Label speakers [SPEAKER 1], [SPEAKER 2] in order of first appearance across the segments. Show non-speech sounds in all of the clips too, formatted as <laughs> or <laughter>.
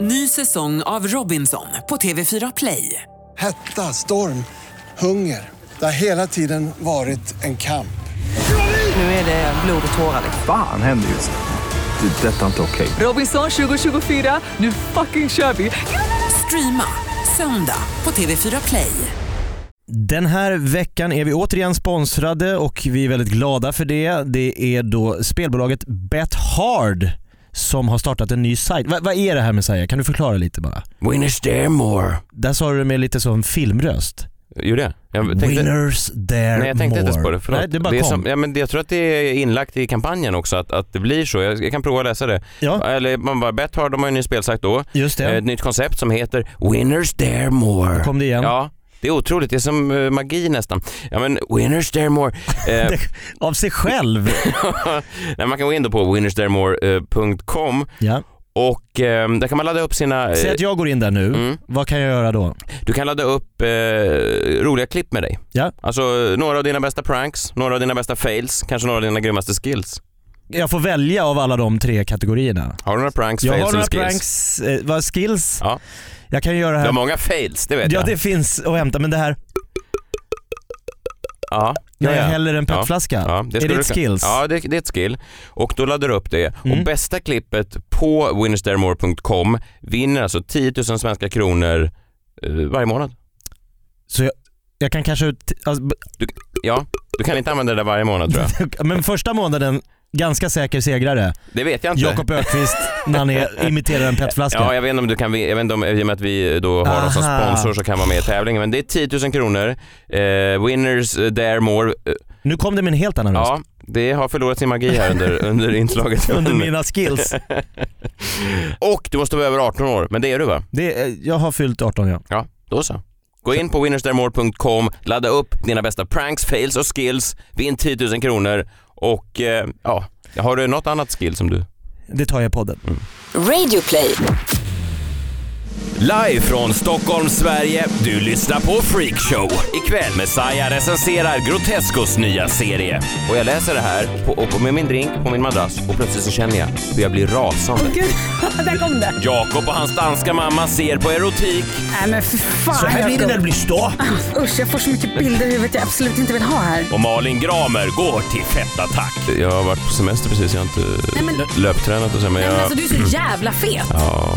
[SPEAKER 1] Ny säsong av Robinson på TV4 Play.
[SPEAKER 2] Hetta, storm, hunger. Det har hela tiden varit en kamp.
[SPEAKER 1] Nu är det blod och tårar.
[SPEAKER 3] Fan händer just nu. Det. är Detta är inte okej.
[SPEAKER 1] Robinson 2024, nu fucking kör vi! Streama söndag på TV4 Play.
[SPEAKER 4] Den här veckan är vi återigen sponsrade och vi är väldigt glada för det. Det är då spelbolaget Bet Hard som har startat en ny sajt. Va- vad är det här Messiah? Kan du förklara lite bara?
[SPEAKER 5] Winners dare more.
[SPEAKER 4] Där sa du det med lite som filmröst.
[SPEAKER 5] Gjorde jag? Jag tänkte,
[SPEAKER 4] Winners there
[SPEAKER 5] nej jag tänkte
[SPEAKER 4] more.
[SPEAKER 5] inte ens på det, förlåt.
[SPEAKER 4] Nej, det bara
[SPEAKER 5] är
[SPEAKER 4] kom.
[SPEAKER 5] som, ja, men det- jag tror att det är inlagt i kampanjen också, att, att det blir så. Jag, jag kan prova att läsa det.
[SPEAKER 4] Ja.
[SPEAKER 5] Eller man bara, Bett har, de har ju en ny spelsajt då. Eh,
[SPEAKER 4] Just det.
[SPEAKER 5] Ett nytt koncept som heter Winners dare more.
[SPEAKER 4] Kom det igen?
[SPEAKER 5] Ja, det är otroligt. Det är som eh, magi nästan. Ja men Winners dare more.
[SPEAKER 4] <laughs>
[SPEAKER 5] Eh,
[SPEAKER 4] Av
[SPEAKER 5] <laughs>
[SPEAKER 4] sig själv.
[SPEAKER 5] nej, man kan gå in då på winnersdaremore.com
[SPEAKER 4] ja.
[SPEAKER 5] och eh, där kan man ladda upp sina...
[SPEAKER 4] Säg
[SPEAKER 5] Eh,
[SPEAKER 4] att jag går in där nu.
[SPEAKER 5] mm,
[SPEAKER 4] Vad kan jag göra då?
[SPEAKER 5] du kan ladda upp eh, roliga klipp med dig.
[SPEAKER 4] Ja.
[SPEAKER 5] Alltså eh, några av dina bästa pranks, några av dina bästa fails, kanske några av dina grymmaste skills.
[SPEAKER 4] Jag får välja av alla de tre kategorierna.
[SPEAKER 5] Har du några pranks,
[SPEAKER 4] Jag
[SPEAKER 5] fails
[SPEAKER 4] har några
[SPEAKER 5] eller skills?
[SPEAKER 4] pranks, eh, vad skills?
[SPEAKER 5] Ja.
[SPEAKER 4] Jag kan göra det
[SPEAKER 5] Du har
[SPEAKER 4] här.
[SPEAKER 5] många fails, det vet
[SPEAKER 4] Ja
[SPEAKER 5] jag.
[SPEAKER 4] det finns att hämta men det här
[SPEAKER 5] Ja,
[SPEAKER 4] När jag
[SPEAKER 5] ja.
[SPEAKER 4] häller en petflaska.
[SPEAKER 5] Ja,
[SPEAKER 4] är
[SPEAKER 5] skulle
[SPEAKER 4] det
[SPEAKER 5] du
[SPEAKER 4] ett
[SPEAKER 5] kunna-
[SPEAKER 4] skills?
[SPEAKER 5] Ja, det, det är ett skill. Och då laddar du upp det.
[SPEAKER 4] Mm.
[SPEAKER 5] Och bästa klippet på winnersdaremore.com vinner alltså 10 000 svenska kronor eh, varje månad.
[SPEAKER 4] Så jag, jag kan kanske ut... Alltså, b-
[SPEAKER 5] Ja, du kan inte använda det där varje månad tror jag.
[SPEAKER 4] <laughs> men första månaden, ganska säker segrare.
[SPEAKER 5] Det vet jag inte.
[SPEAKER 4] Jakob Ökvist när han är, imiterar en petflaska.
[SPEAKER 5] Ja, jag vet inte om du kan, jag vet inte om, i och med att vi då har oss som
[SPEAKER 4] Aha.
[SPEAKER 5] sponsor så kan vara med i tävlingen. Men det är 10 000 kronor. Eh, winners eh, dare more. Eh,
[SPEAKER 4] Nu kom det med en helt annan röst. <laughs>
[SPEAKER 5] ja, det har förlorat sin magi här under, under inslaget.
[SPEAKER 4] Under
[SPEAKER 5] <laughs>
[SPEAKER 4] mina skills.
[SPEAKER 5] Och du måste vara över 18 år, men det är du va?
[SPEAKER 4] Det, är- jag har fyllt 18 ja.
[SPEAKER 5] Ja, då så. Gå in på winnersdaremore.com, ladda upp dina bästa pranks, fails och skills, vinn 10 000 kronor och eh, ja, har du något annat skill som du?
[SPEAKER 4] Det tar jag i podden.
[SPEAKER 6] Radioplay.
[SPEAKER 5] Live från Stockholm, Sverige. Du lyssnar på Freakshow. Ikväll Messiah recenserar Grotescos nya serie. Och jag läser det här på, och på med min drink på min madrass och plötsligt så känner jag hur jag blir rasande.
[SPEAKER 7] Gud, <laughs> där kom det.
[SPEAKER 5] Jakob och hans danska mamma ser på erotik.
[SPEAKER 7] Nej men för fan. Så här blir det när du blir stå. Usch, jag får så mycket bilder i huvudet jag absolut inte vill ha här.
[SPEAKER 5] Och Malin Gramer går till fettattack. Jag har varit på semester precis, jag har inte
[SPEAKER 7] Nej, men-
[SPEAKER 5] löptränat och så men
[SPEAKER 7] Nej,
[SPEAKER 5] jag...
[SPEAKER 7] men alltså du är så jävla fet.
[SPEAKER 5] Ja.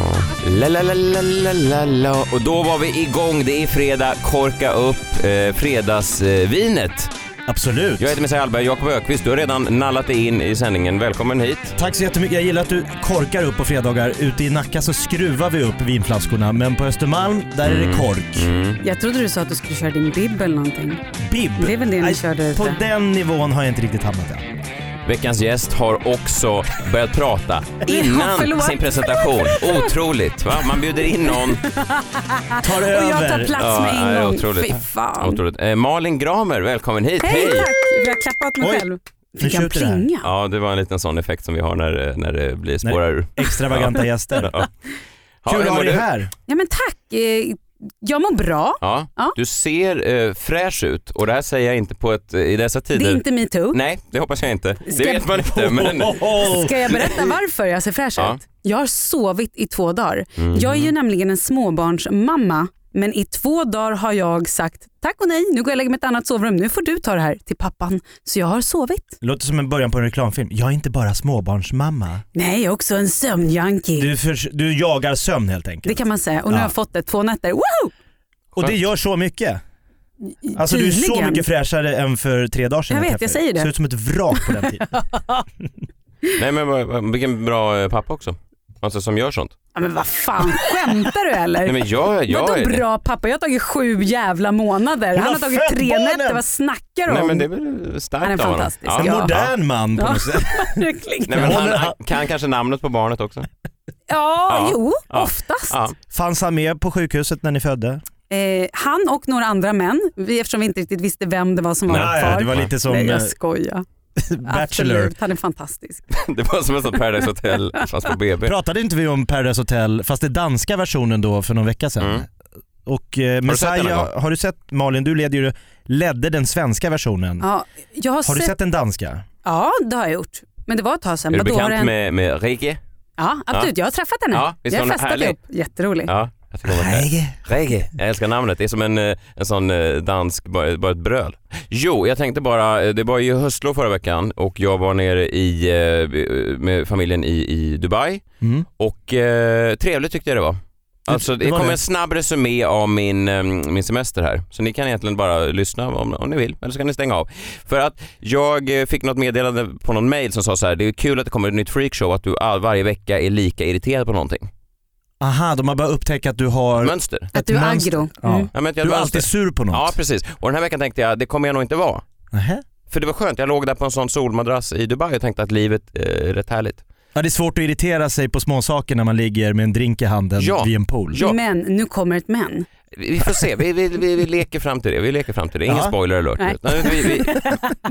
[SPEAKER 5] La, la, la, la, la, la, la. Och då var vi igång, det är fredag, korka upp eh, fredagsvinet.
[SPEAKER 4] <laughs> Absolut.
[SPEAKER 5] Jag heter Messiah Hallberg, Jakob Ökvist. du har redan nallat dig in i sändningen. Välkommen hit.
[SPEAKER 4] Tack så jättemycket. Jag gillar att du korkar upp på fredagar. Ute i Nacka så skruvar vi upp vinflaskorna men på Östermalm där är
[SPEAKER 5] Mm.
[SPEAKER 4] det kork.
[SPEAKER 7] Jag trodde du sa att du skulle köra din bibb eller någonting.
[SPEAKER 4] Bib.
[SPEAKER 7] Det är väl det ni
[SPEAKER 4] Nej,
[SPEAKER 7] körde ute.
[SPEAKER 4] På den nivån har jag inte riktigt hamnat än.
[SPEAKER 5] Veckans gäst har också börjat prata
[SPEAKER 7] Ja,
[SPEAKER 5] innan
[SPEAKER 7] förlåt.
[SPEAKER 5] sin presentation. Otroligt va? Man bjuder in någon.
[SPEAKER 4] Tar
[SPEAKER 7] Och
[SPEAKER 4] över.
[SPEAKER 7] jag tar plats
[SPEAKER 5] Ja,
[SPEAKER 7] med en
[SPEAKER 5] nej,
[SPEAKER 7] gång.
[SPEAKER 5] otroligt.
[SPEAKER 7] Fy fan.
[SPEAKER 5] Otroligt. Eh, Malin Gramer, välkommen hit.
[SPEAKER 7] Hej, tack. Jag klappar åt mig
[SPEAKER 4] Oj.
[SPEAKER 7] själv.
[SPEAKER 4] Nu
[SPEAKER 7] Fick han
[SPEAKER 4] tjuter det här.
[SPEAKER 7] plinga?
[SPEAKER 5] Ja, det var en liten sån effekt som vi har när, eh, när det blir spårar ur.
[SPEAKER 4] Extravaganta gäster.
[SPEAKER 5] <laughs> Ja. Ja,
[SPEAKER 4] Kul
[SPEAKER 5] hur
[SPEAKER 4] att ha
[SPEAKER 5] mår
[SPEAKER 4] dig
[SPEAKER 5] du?
[SPEAKER 4] här.
[SPEAKER 7] Ja men tack. Eh, Jag mår bra.
[SPEAKER 5] Ja,
[SPEAKER 7] Ja.
[SPEAKER 5] du ser eh, fräsch ut och det här säger jag inte på ett, eh, i dessa
[SPEAKER 7] Det
[SPEAKER 5] tider.
[SPEAKER 7] är inte metoo.
[SPEAKER 5] Nej, det hoppas jag inte.
[SPEAKER 7] Ska-
[SPEAKER 5] Det vet
[SPEAKER 7] <laughs>
[SPEAKER 5] man inte. <laughs> Men...
[SPEAKER 7] Ska jag berätta varför jag ser fräsch
[SPEAKER 5] Ja. Mhm.
[SPEAKER 7] ut? Jag har sovit i två dagar. Jag är ju nämligen en småbarnsmamma. Men i två dagar har jag sagt tack och nej, nu går jag och lägger mig i ett annat sovrum. Nu får du ta det här till pappan. Så jag har sovit.
[SPEAKER 4] Det låter som en början på en reklamfilm. Jag är inte bara småbarnsmamma.
[SPEAKER 7] Nej, jag är också en sömnjunkie.
[SPEAKER 4] Du, förs- du jagar sömn helt
[SPEAKER 7] Det
[SPEAKER 4] enkelt.
[SPEAKER 7] kan man säga. Och nu
[SPEAKER 4] Ja.
[SPEAKER 7] har jag fått det två nätter. Wow!
[SPEAKER 4] och det gör så mycket. Alltså du är så
[SPEAKER 7] Tydligen.
[SPEAKER 4] mycket fräschare än för tre dagar sedan.
[SPEAKER 7] Jag vet,
[SPEAKER 4] träffade
[SPEAKER 7] jag
[SPEAKER 4] dig.
[SPEAKER 7] säger det.
[SPEAKER 4] Ser ut som ett vrak på den
[SPEAKER 7] <laughs>
[SPEAKER 4] tiden.
[SPEAKER 5] Nej men vad- vad- vilken bra eh, pappa också. Alltså som gör sånt.
[SPEAKER 7] Ja, men vad fan, skämtar du eller?
[SPEAKER 5] Nej men jag, jag
[SPEAKER 7] Vadå
[SPEAKER 5] är det.
[SPEAKER 7] bra pappa? Jag har tagit sju jävla månader. Han
[SPEAKER 4] har
[SPEAKER 7] har tagit
[SPEAKER 4] fött
[SPEAKER 7] tre
[SPEAKER 4] barnen.
[SPEAKER 7] nätter. Vad snackar du om?
[SPEAKER 5] Nej men det är väl starkt
[SPEAKER 7] Han är
[SPEAKER 5] av honom.
[SPEAKER 7] fantastisk.
[SPEAKER 4] En
[SPEAKER 7] Ja.
[SPEAKER 4] modern man på
[SPEAKER 7] Ja.
[SPEAKER 4] något sätt.
[SPEAKER 7] <laughs> Verkligen.
[SPEAKER 5] Nej, men han,
[SPEAKER 4] Håller-
[SPEAKER 5] han kan kanske namnet på barnet också.
[SPEAKER 7] Ja,
[SPEAKER 5] Ja.
[SPEAKER 7] jo,
[SPEAKER 5] Ja.
[SPEAKER 7] oftast.
[SPEAKER 5] Ja.
[SPEAKER 4] Fanns han med på sjukhuset när ni födde?
[SPEAKER 7] Eh, han och några andra män, vi, eftersom vi inte riktigt visste vem det var som var
[SPEAKER 4] Nej,
[SPEAKER 7] far.
[SPEAKER 4] det var lite som
[SPEAKER 7] Nej,
[SPEAKER 4] eh,
[SPEAKER 7] jag skojar.
[SPEAKER 4] <laughs> Bachelor.
[SPEAKER 7] Absolut, han är fantastisk.
[SPEAKER 5] <laughs> Det var som ett sånt Paradise Hotel fast på BB. Har
[SPEAKER 4] Pratade inte vi om Paradise Hotel, fast den danska versionen då för någon vecka sedan?
[SPEAKER 5] Mm.
[SPEAKER 4] Och eh,
[SPEAKER 5] du sett den någon
[SPEAKER 4] Messiah, har du sett Malin, du leder ju, ledde den svenska versionen.
[SPEAKER 7] Ja, jag har,
[SPEAKER 4] Har du
[SPEAKER 7] sett,
[SPEAKER 4] sett den danska?
[SPEAKER 7] Ja, det har jag gjort. Men det var ett tag sedan.
[SPEAKER 5] Är du
[SPEAKER 7] Vadå, har
[SPEAKER 5] bekant
[SPEAKER 7] en-
[SPEAKER 5] med, med Rike?
[SPEAKER 7] Ja, absolut. Jag har träffat henne.
[SPEAKER 5] Ja, visst
[SPEAKER 7] Vi
[SPEAKER 5] var
[SPEAKER 7] har
[SPEAKER 5] hon
[SPEAKER 7] festat
[SPEAKER 5] härlig?
[SPEAKER 7] ihop. Jätterolig.
[SPEAKER 5] Ja, jag tycker om det. Reggae. Jag älskar namnet. Det är som en, eh, en sån eh, dansk, bara bara ett bröl. Jo, jag tänkte bara, eh, det var ju höstlov förra veckan och jag var nere i, eh, med familjen i, i Dubai
[SPEAKER 4] Mm.
[SPEAKER 5] och eh, trevligt tyckte jag det var. Alltså, det
[SPEAKER 4] det var
[SPEAKER 5] kommer
[SPEAKER 4] det.
[SPEAKER 5] en snabb resumé av min, eh, min semester här. Så ni kan egentligen bara lyssna om, om ni vill, eller så kan ni stänga av. För att jag eh, fick något meddelande på någon mail som sa så här, det är kul att det kommer ett nytt freakshow, att du all, varje vecka är lika irriterad på någonting.
[SPEAKER 4] Aha, de har bara upptäckt att du har...
[SPEAKER 5] Mönster.
[SPEAKER 7] Att du är
[SPEAKER 4] mönster.
[SPEAKER 7] aggro.
[SPEAKER 4] Ja.
[SPEAKER 7] Mm.
[SPEAKER 5] Ja, men att jag
[SPEAKER 4] Du är
[SPEAKER 5] mönster.
[SPEAKER 4] alltid sur på något.
[SPEAKER 5] Ja precis, och den här veckan tänkte jag det kommer jag nog inte vara.
[SPEAKER 4] Nähä.
[SPEAKER 5] För det var skönt, jag låg där på en sån solmadrass i Dubai och tänkte att livet eh, är rätt härligt.
[SPEAKER 4] Ja, det är svårt att irritera sig på småsaker när man ligger med en drink i handen
[SPEAKER 5] Ja.
[SPEAKER 4] vid en pool.
[SPEAKER 5] Ja.
[SPEAKER 7] Men nu kommer ett men.
[SPEAKER 5] Vi vi får se, vi, vi, vi, vi leker fram till det. Vi leker fram till det. Ingen
[SPEAKER 4] Ja.
[SPEAKER 5] spoiler alert.
[SPEAKER 7] Nej.
[SPEAKER 5] Nej. Vi, vi,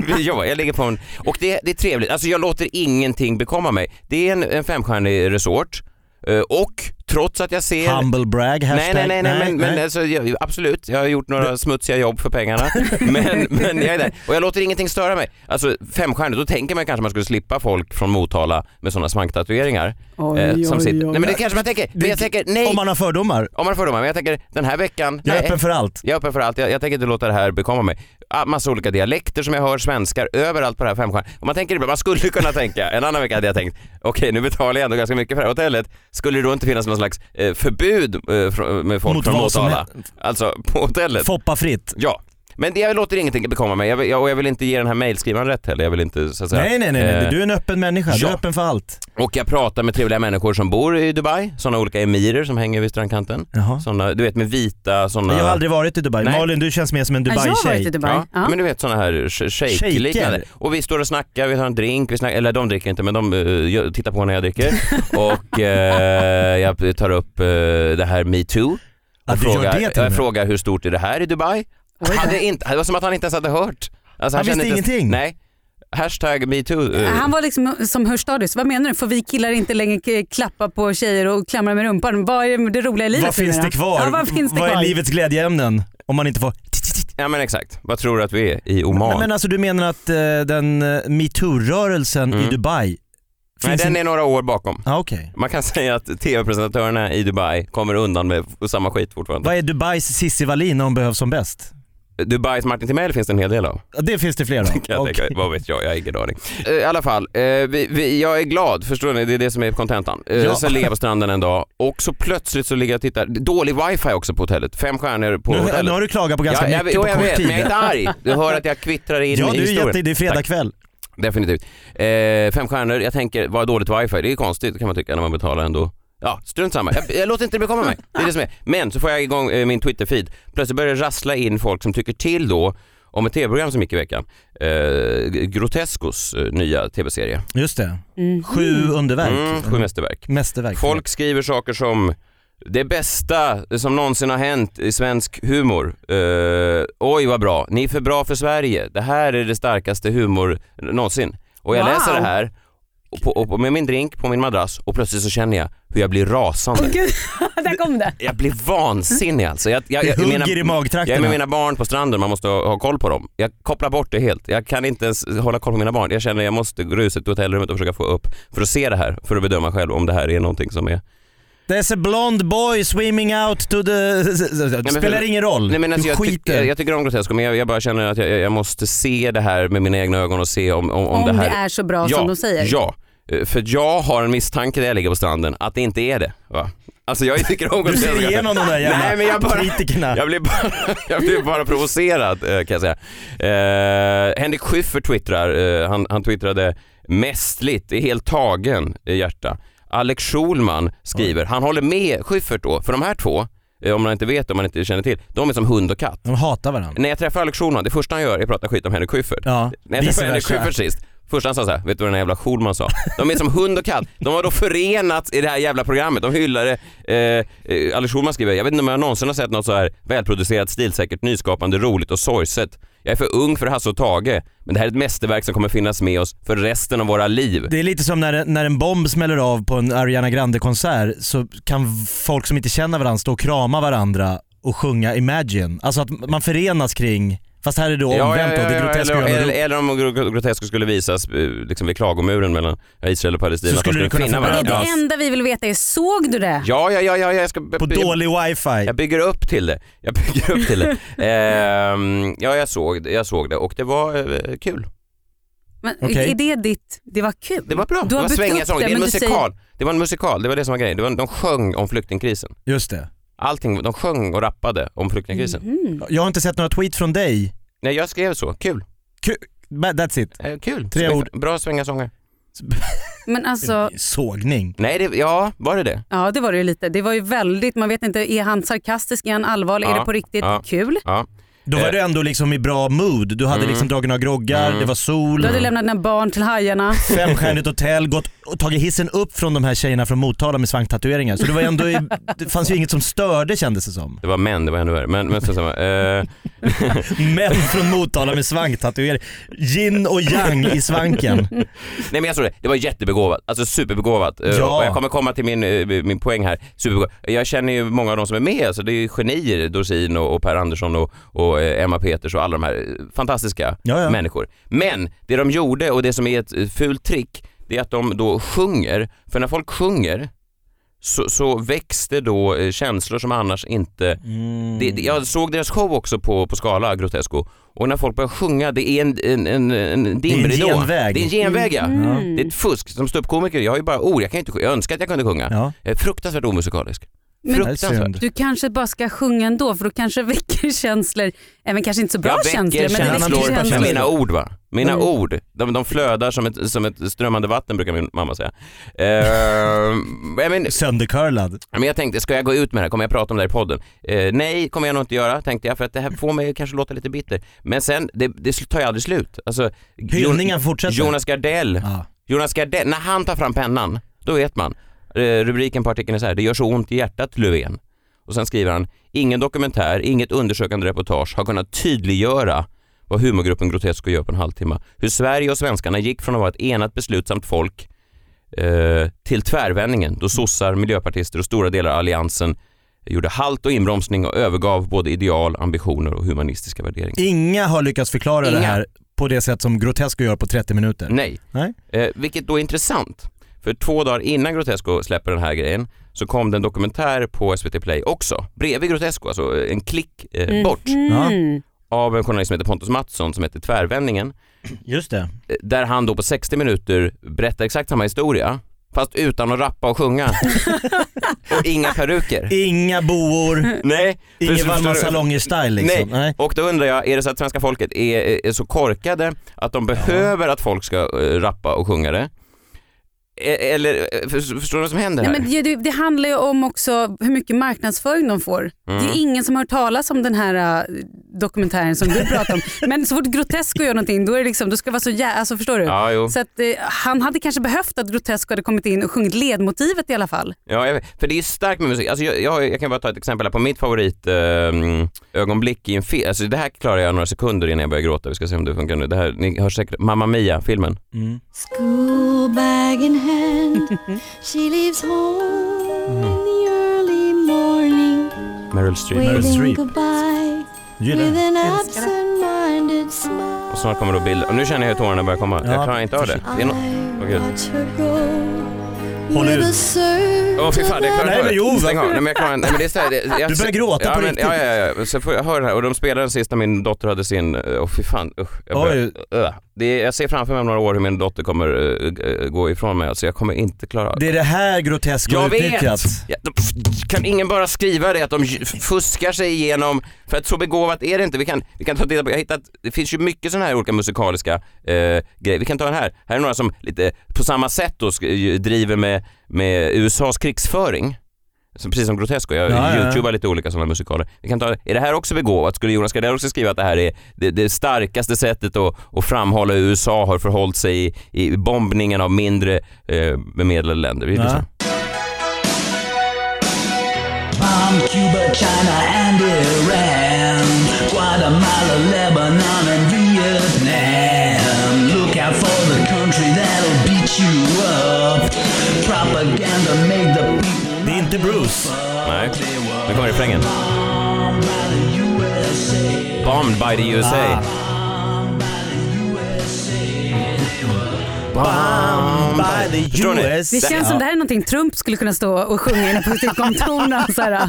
[SPEAKER 5] vi, ja, jag ligger på en... Och det, det är trevligt, alltså jag låter ingenting bekomma mig. Det är en, en femstjärnig resort eh, och trots att jag ser
[SPEAKER 4] Humble brag,
[SPEAKER 5] Nej,
[SPEAKER 4] hashtag.
[SPEAKER 5] nej, nej, nej, men, men alltså, jag, absolut, jag har gjort några smutsiga jobb för pengarna. <laughs> men, men jag är där och jag låter ingenting störa mig. Alltså femstjärnigt, då tänker man kanske man skulle slippa folk från Motala med sådana svanktatueringar. eh,
[SPEAKER 7] Oj,
[SPEAKER 5] som
[SPEAKER 7] oj,
[SPEAKER 5] sitter- Nej
[SPEAKER 7] oj.
[SPEAKER 5] men det kanske man tänker, men jag tänker nej.
[SPEAKER 4] Om man har fördomar.
[SPEAKER 5] Om man får dem, men jag tänker den här veckan,
[SPEAKER 4] Jag är
[SPEAKER 5] nej.
[SPEAKER 4] öppen för allt.
[SPEAKER 5] Jag är öppen för allt, jag, jag tänker inte låta det här bekomma mig. Ah, Massa olika dialekter som jag hör, svenskar, överallt på det här femstjärniga. Och man tänker ibland, man skulle <laughs> kunna tänka, en annan vecka hade jag tänkt, okej nu betalar jag ändå ganska mycket för det här hotellet, skulle det då inte finnas någon slags eh, förbud eh, fr- med folk
[SPEAKER 4] Mot
[SPEAKER 5] från
[SPEAKER 4] vad som
[SPEAKER 5] Motala? Alltså på hotellet?
[SPEAKER 4] Foppa fritt.
[SPEAKER 5] ja. Men det, jag låter ingenting bekomma mig jag, vill- jag, och jag vill inte ge den här mejlskrivaren rätt heller. Jag vill inte så att säga.
[SPEAKER 4] Nej, nej, nej,
[SPEAKER 5] eh,
[SPEAKER 4] nej. Du är en öppen människa. Du
[SPEAKER 5] ja.
[SPEAKER 4] är öppen för allt.
[SPEAKER 5] Och jag pratar med trevliga människor som bor i Dubai, sådana olika emirer som hänger vid strandkanten.
[SPEAKER 4] Jaha.
[SPEAKER 5] Såna, du vet med vita sådana...
[SPEAKER 4] Jag har aldrig varit i Dubai.
[SPEAKER 5] eh, Nej.
[SPEAKER 4] Malin, du känns mer som en
[SPEAKER 7] Ja, jag har varit i
[SPEAKER 4] Dubai-tjej.
[SPEAKER 7] Dubai. Ja.
[SPEAKER 5] Men du vet sådana här sh- shake-liknande.
[SPEAKER 4] Shaker.
[SPEAKER 5] Och vi står och snackar, vi tar en drink, vi snackar, eller de dricker inte men de eh, gör- tittar på när jag
[SPEAKER 7] <laughs>
[SPEAKER 5] dricker. och eh, jag tar upp eh, det här metoo.
[SPEAKER 4] Ja,
[SPEAKER 5] Och
[SPEAKER 4] du gör det till och
[SPEAKER 5] jag
[SPEAKER 4] med.
[SPEAKER 5] frågar hur stort är det här i Dubai?
[SPEAKER 7] Oj,
[SPEAKER 5] Hade
[SPEAKER 7] där.
[SPEAKER 5] inte, det var som att han inte ens hade hört. Alltså,
[SPEAKER 4] Han
[SPEAKER 5] kände
[SPEAKER 4] visste
[SPEAKER 5] inte-
[SPEAKER 4] ingenting.
[SPEAKER 5] Nej. Hashtag metoo. eh,
[SPEAKER 7] Han var liksom som Hörstadius. Vad menar du? Får vi killar inte längre k- klappa på tjejer och klamra med rumpan? Vad är det roliga i livet?
[SPEAKER 4] Vad finns
[SPEAKER 7] numera?
[SPEAKER 4] det kvar?
[SPEAKER 7] Ja, vad finns det
[SPEAKER 4] vad
[SPEAKER 7] kvar?
[SPEAKER 4] är livets glädjeämnen? Om man inte får...
[SPEAKER 5] Ja men exakt. Vad tror du att vi är i Oman?
[SPEAKER 4] Nej, men alltså du menar att eh, den eh, metoo-rörelsen i Dubai
[SPEAKER 5] Mm. Nej,
[SPEAKER 4] finns
[SPEAKER 5] den
[SPEAKER 4] in-
[SPEAKER 5] är några år bakom.
[SPEAKER 4] Ah, Okej.
[SPEAKER 5] Man kan <laughs> säga att tv-presentatörerna i Dubai kommer undan med f- samma skit fortfarande.
[SPEAKER 4] Vad är Dubais Cissi Wallin när hon behövs som bäst?
[SPEAKER 5] Dubais Martin Timell finns det en hel del av.
[SPEAKER 4] Ja, Det finns
[SPEAKER 5] <laughs>
[SPEAKER 4] det flera.
[SPEAKER 5] Kan jag
[SPEAKER 4] Okej.
[SPEAKER 5] tänka, mig. vad vet jag, jag har ingen aning. Eh, I alla fall, eh, vi, vi, jag är glad, förstår ni? Det är det som är kontentan. Eh,
[SPEAKER 4] Ja.
[SPEAKER 5] Sen ligger jag på stranden en dag och så plötsligt så ligger jag och tittar. Dålig wifi också på hotellet, fem stjärnor på
[SPEAKER 4] Nu,
[SPEAKER 5] hotellet.
[SPEAKER 4] nu har du klagat på ganska
[SPEAKER 5] Ja, jag,
[SPEAKER 4] mycket
[SPEAKER 5] jo,
[SPEAKER 4] på
[SPEAKER 5] jag
[SPEAKER 4] kort
[SPEAKER 5] vet,
[SPEAKER 4] tid.
[SPEAKER 5] men jag är inte arg. Du hör att jag kvittrar in
[SPEAKER 4] Ja,
[SPEAKER 5] i
[SPEAKER 4] du är
[SPEAKER 5] historien.
[SPEAKER 4] jätte... Det är fredag kväll.
[SPEAKER 5] Definitivt. Eh, fem stjärnor, jag tänker vad dåligt wifi, det är konstigt kan man tycka när man betalar ändå. Ja, strunt samma. Jag, jag låter inte det bekomma mig. Det är det som är. Men så får jag igång eh, min Twitter-feed. Plötsligt börjar det rassla in folk som tycker till då om ett tv-program som gick i veckan. Eh, Grotescos eh, nya tv-serie.
[SPEAKER 4] Just det. Sju underverk.
[SPEAKER 5] Mm, sju mästerverk.
[SPEAKER 4] Mästerverk.
[SPEAKER 5] Folk skriver saker som det bästa som någonsin har hänt i svensk humor. Eh, oj vad bra, ni är för bra för Sverige. Det här är det starkaste humor någonsin. Och jag
[SPEAKER 7] Wow.
[SPEAKER 5] läser det här och på, och på, med min drink på min madrass och plötsligt så känner jag hur jag blir rasande.
[SPEAKER 7] Åh, Gud, <laughs> där kom det.
[SPEAKER 5] Jag blir vansinnig alltså. Jag, jag,
[SPEAKER 4] Det
[SPEAKER 5] jag,
[SPEAKER 4] hugger
[SPEAKER 5] mina,
[SPEAKER 4] i
[SPEAKER 5] jag är
[SPEAKER 4] magtrakterna.
[SPEAKER 5] med mina barn på stranden, man måste ha, ha koll på dem. Jag kopplar bort det helt. Jag kan inte ens hålla koll på mina barn. Jag känner att jag måste gå ut till hotellrummet och försöka få upp för att se det här, för att bedöma själv om det här är någonting som är
[SPEAKER 4] There's a blond boy swimming out to the... Det
[SPEAKER 5] men-
[SPEAKER 4] spelar ingen roll.
[SPEAKER 5] Nej, men alltså,
[SPEAKER 4] du
[SPEAKER 5] jag, tyck,
[SPEAKER 4] skiter.
[SPEAKER 5] jag, jag tycker om grotesko men jag, jag bara känner att jag, jag jag måste se det här med mina egna ögon och se om, om, om,
[SPEAKER 7] Om
[SPEAKER 5] det här
[SPEAKER 7] det är så bra
[SPEAKER 5] ja,
[SPEAKER 7] som de säger.
[SPEAKER 5] Ja, Eh, för jag har en misstanke när jag ligger på stranden att det inte är det. Va? Alltså jag tycker om
[SPEAKER 4] Du
[SPEAKER 5] grotesko.
[SPEAKER 4] ser igenom de där jävla
[SPEAKER 5] Nej, men jag bara-
[SPEAKER 4] kritikerna.
[SPEAKER 5] Jag blir bara, <laughs> jag blir bara provocerad eh, kan jag säga. Eh, Henrik Schyffert twittrar, eh, han, han twittrade mästligt, är helt tagen i hjärta. Alex Schulman skriver, han håller med Schyffert då, för de här två, eh, om man inte vet, om man inte känner till, de är som hund och katt.
[SPEAKER 4] De hatar varandra.
[SPEAKER 5] När jag träffar Alex Schulman, det första han gör är att prata skit om Henrik Schyffert.
[SPEAKER 4] Ja,
[SPEAKER 5] När jag
[SPEAKER 4] vice
[SPEAKER 5] träffade Henrik
[SPEAKER 4] versa.
[SPEAKER 5] Schyffert sist, först han sa såhär, vet du vad den här jävla Schulman sa? De är som hund och katt, de har då förenats i det här jävla programmet, de hyllade, eh, eh, Alex Schulman skriver, jag vet inte om jag någonsin har sett något så här välproducerat, stilsäkert, nyskapande, roligt och sorgset. Jag är för ung för Hasse och Tage, men det här är ett mästerverk som kommer finnas med oss för resten av våra liv.
[SPEAKER 4] Det är lite som när, när en bomb smäller av på en Ariana Grande-konsert så kan folk som inte känner varandra stå och krama varandra och sjunga Imagine. Alltså att man förenas kring Fast här är det då omvänt då, det groteska
[SPEAKER 5] eller,
[SPEAKER 4] och
[SPEAKER 5] eller,
[SPEAKER 4] Europa.
[SPEAKER 5] eller om gro- groteska skulle visas eh, liksom vid klagomuren mellan Israel och Palestina.
[SPEAKER 4] Så
[SPEAKER 5] att de
[SPEAKER 4] skulle det kunna
[SPEAKER 5] finna
[SPEAKER 4] få-
[SPEAKER 7] Det, är
[SPEAKER 5] varandra.
[SPEAKER 7] det
[SPEAKER 4] Ja.
[SPEAKER 7] enda vi vill veta är, såg du det?
[SPEAKER 5] Ja, ja, ja, ja, jag ska...
[SPEAKER 4] På dålig wifi.
[SPEAKER 5] Jag bygger upp till det. Jag bygger upp till
[SPEAKER 7] <laughs>
[SPEAKER 5] det. Ehm, ja, jag såg, det- jag såg det och det var eh, kul.
[SPEAKER 7] Men
[SPEAKER 4] Okej.
[SPEAKER 7] Är det ditt, det var kul?
[SPEAKER 5] Det var bra.
[SPEAKER 7] Du
[SPEAKER 5] det
[SPEAKER 7] har
[SPEAKER 5] var
[SPEAKER 7] byggt
[SPEAKER 5] svängiga
[SPEAKER 7] upp
[SPEAKER 5] sånger.
[SPEAKER 7] det,
[SPEAKER 5] Det, är en
[SPEAKER 7] men du säger-
[SPEAKER 5] musikal. Det var en musikal. Det var det som var grejen. Det var, de sjöng om flyktingkrisen.
[SPEAKER 4] Just det.
[SPEAKER 5] Allting, de sjöng och rappade om flyktingkrisen.
[SPEAKER 7] Mhm.
[SPEAKER 4] Jag har inte sett några tweet från dig.
[SPEAKER 5] Nej, jag skrev så. Kul.
[SPEAKER 4] But that's it.
[SPEAKER 5] Eh, kul.
[SPEAKER 4] Tre
[SPEAKER 5] Sväng-
[SPEAKER 4] ord.
[SPEAKER 5] Bra svängiga sånger.
[SPEAKER 7] Men alltså,
[SPEAKER 4] Sågning.
[SPEAKER 5] Nej, det, ja, var det det?
[SPEAKER 7] ja det var det ju lite. Det var ju väldigt, man vet inte, är han sarkastisk, är han allvarlig, är
[SPEAKER 5] Ja,
[SPEAKER 7] det på riktigt
[SPEAKER 5] ja.
[SPEAKER 7] kul?
[SPEAKER 5] Ja.
[SPEAKER 4] Då var
[SPEAKER 5] Eh. Mm.
[SPEAKER 4] du ändå liksom i bra mood. Du hade liksom dragit några groggar, det var sol,
[SPEAKER 7] Du hade lämnat dina barn till
[SPEAKER 5] <laughs>
[SPEAKER 7] hajarna.
[SPEAKER 4] femstjärnigt hotell, gått och tagit hissen upp från de här tjejerna från Motala med svanktatueringar. Så det var ändå i, det fanns ju inget som störde kändes det som.
[SPEAKER 5] Det var män, det var ännu värre. Men, men så, så, eh,
[SPEAKER 4] Män från Motala med svanktatueringar. Yin och yang i svanken.
[SPEAKER 5] Nej men jag såg det, det var jättebegåvat, alltså superbegåvat. Eh,
[SPEAKER 4] Ja.
[SPEAKER 5] Och jag kommer komma till min, eh, min poäng här. Superbegåvat. Jag känner ju många av de som är med, alltså det är ju genier, Dorsin och, och Per Andersson och, och eh, Emma Peters och alla de här eh, fantastiska
[SPEAKER 4] Ja, ja.
[SPEAKER 5] människor. Men det de gjorde och det som är ett eh, fult trick, det är att de då sjunger, för när folk sjunger så, så väcks det då eh, känslor som annars inte...
[SPEAKER 4] Mm.
[SPEAKER 5] Det, det, jag såg deras show också på, på Skala, Grotesco, och när folk börjar sjunga, det är en, en, en, en dimridå.
[SPEAKER 4] genväg.
[SPEAKER 5] Det är en genväg ja.
[SPEAKER 4] Mm.
[SPEAKER 5] Det är ett fusk. Som ståuppkomiker, jag har ju bara ord, jag kan ju inte sjunga. Jag önskar att jag kunde sjunga.
[SPEAKER 4] Ja.
[SPEAKER 5] Jag är fruktansvärt omusikalisk.
[SPEAKER 4] Det är synd.
[SPEAKER 5] Fruktansvärt.
[SPEAKER 7] Du kanske bara ska sjunga ändå för då kanske väcker känslor, även kanske inte så bra
[SPEAKER 5] Jag
[SPEAKER 7] känslor,
[SPEAKER 5] väcker
[SPEAKER 7] men det
[SPEAKER 4] känslor.
[SPEAKER 7] väcker
[SPEAKER 5] känslor.
[SPEAKER 7] känslor.
[SPEAKER 5] Mina ord va? Mina
[SPEAKER 4] Mm.
[SPEAKER 5] ord. De, de flödar som ett, som ett strömmande vatten brukar min mamma säga. Eh, men,
[SPEAKER 4] Söndercurlad.
[SPEAKER 5] men jag tänkte, ska jag gå ut med det här? Kommer jag prata om det här i podden? Eh, nej, kommer jag nog inte göra tänkte jag för att det här får mig kanske låta lite bitter. Men sen, det, det tar ju aldrig slut. Alltså,
[SPEAKER 4] Hyllningen fortsätter.
[SPEAKER 5] Jonas Gardell
[SPEAKER 4] Ja.
[SPEAKER 5] Jonas Gardell, när han tar fram pennan, då vet man. Eh, Rubriken på artikeln är så här, det gör så ont i hjärtat Löfven. Och sen skriver han, ingen dokumentär, inget undersökande reportage har kunnat tydliggöra vad humorgruppen Grotesco gör på en halvtimme. Hur Sverige och svenskarna gick från att vara ett enat beslutsamt folk eh, till tvärvändningen då sossar, miljöpartister och stora delar av alliansen gjorde halt och inbromsning och övergav både ideal, ambitioner och humanistiska värderingar.
[SPEAKER 4] Inga har lyckats förklara det
[SPEAKER 5] Inga.
[SPEAKER 4] här på det sätt som Grotesco gör på 30 minuter.
[SPEAKER 5] Nej.
[SPEAKER 4] Nej.
[SPEAKER 5] Eh, vilket då är intressant. För två dagar innan Grotesco släpper den här grejen så kom det en dokumentär på SVT Play också, bredvid Grotesco, alltså eh, en klick eh, bort,
[SPEAKER 7] Mm.
[SPEAKER 5] av en journalist som heter Pontus Mattsson som heter Tvärvändningen,
[SPEAKER 4] Just det.
[SPEAKER 5] eh, där han då på 60 minuter berättar exakt samma historia, fast utan att rappa och sjunga. och inga peruker.
[SPEAKER 4] Inga boor,
[SPEAKER 5] Nej. för-
[SPEAKER 4] ingen
[SPEAKER 5] förstår
[SPEAKER 4] Wallmans
[SPEAKER 5] du?
[SPEAKER 4] salonger-style liksom.
[SPEAKER 5] Nej.
[SPEAKER 4] Nej.
[SPEAKER 5] Och då undrar jag, är det så att svenska folket är, är så korkade att de behöver att folk ska eh, rappa och sjunga det? E- Eller, eh, för- förstår du vad som händer
[SPEAKER 7] Nej,
[SPEAKER 5] här?
[SPEAKER 7] men det, det- det handlar ju om också hur mycket marknadsföring de får. Det
[SPEAKER 5] Mm.
[SPEAKER 7] är ingen som har hört talas om den här äh, dokumentären som du
[SPEAKER 5] <laughs>
[SPEAKER 7] pratar om. Men så fort Grotesco gör någonting då, är det liksom, då ska det vara så jävla... Alltså, förstår du?
[SPEAKER 5] Ja, jo.
[SPEAKER 7] Så att, eh, han hade kanske behövt att Grotesco hade kommit in och sjungit ledmotivet i alla fall.
[SPEAKER 5] Ja, jag vet. för det är ju starkt med musik. Alltså jag, jag, jag kan bara ta ett exempel här på mitt favorit ehm, ögonblick i en film. Alltså det här klarar jag några sekunder innan jag börjar gråta. Vi ska se om det funkar nu. Det här, ni hör säkert Mamma Mia-filmen.
[SPEAKER 6] School bag in
[SPEAKER 5] <laughs>
[SPEAKER 6] hand, she leaves home
[SPEAKER 5] Mm-hmm.
[SPEAKER 6] in the early morning,
[SPEAKER 5] Meryl Streep.
[SPEAKER 4] Meryl
[SPEAKER 6] waving
[SPEAKER 4] Streep.
[SPEAKER 6] goodbye
[SPEAKER 4] Gillar
[SPEAKER 6] with
[SPEAKER 4] det.
[SPEAKER 6] an absent-minded smile.
[SPEAKER 5] Och snart kommer då bilden. Och nu känner jag hur tårarna börjar komma.
[SPEAKER 4] Ja.
[SPEAKER 5] Jag klarar inte av det. det är no- Åh,
[SPEAKER 6] I
[SPEAKER 5] gud.
[SPEAKER 6] watch her go
[SPEAKER 4] Håll
[SPEAKER 6] with
[SPEAKER 4] ut.
[SPEAKER 6] a surge
[SPEAKER 5] Åh fy fan, jag klarar
[SPEAKER 4] Nej,
[SPEAKER 5] inte av
[SPEAKER 4] men
[SPEAKER 5] det.
[SPEAKER 4] jo, va?
[SPEAKER 5] Stäng av. Nej, men jag klarar inte. Nej, men det är så här, det, jag,
[SPEAKER 4] Du börjar gråta
[SPEAKER 5] ja,
[SPEAKER 4] på
[SPEAKER 5] men,
[SPEAKER 4] riktigt.
[SPEAKER 5] Ja, ja, ja. Så får jag höra det här. Och de spelade den sist när min dotter hade sin, eh, åh fy fan, usch. Jag, börjar, Öh. det är, jag ser framför mig om några år hur min dotter kommer eh, eh, gå ifrån mig. Alltså jag kommer inte klara av det.
[SPEAKER 4] Det är det här Grotesco har
[SPEAKER 5] Jag vet!
[SPEAKER 4] utnyttjat.
[SPEAKER 5] Ja, de, f- kan ingen bara skriva det att de ju- fuskar sig igenom, för att så begåvat är det inte. Vi kan, vi kan ta och titta på, jag har hittat, det finns ju mycket sådana här olika musikaliska eh, grejer. Vi kan ta den här, här är några som lite på samma sätt då sk- ju- driver med, med USAs krigsföring. Så precis som Grotesco, jag
[SPEAKER 4] Ja, ja, ja.
[SPEAKER 5] youtubar lite olika sådana musikaler. Vi kan ta, är det här också begåvat? Skulle Jonas Gardell också skriva att det här är det, det starkaste sättet att, att framhålla hur USA har förhållit sig i, i bombningen av mindre eh, bemedlade länder? Vi lyssnar.
[SPEAKER 4] Ja.
[SPEAKER 8] Bomb Cuba, China, and Iran. Guatemala, Lebanon, and Vietnam. Look out for the country that'll beat you up. Propaganda made the people
[SPEAKER 4] Det är inte Bruce.
[SPEAKER 5] Nej, nu kommer refrängen.
[SPEAKER 8] bomb by the USA.
[SPEAKER 5] Bombed by the USA.
[SPEAKER 4] Ah. by the
[SPEAKER 5] Förstår ni?
[SPEAKER 4] US.
[SPEAKER 7] Det känns som det här är någonting Trump skulle kunna stå och sjunga inne på sitt kontor. när han så här, äh,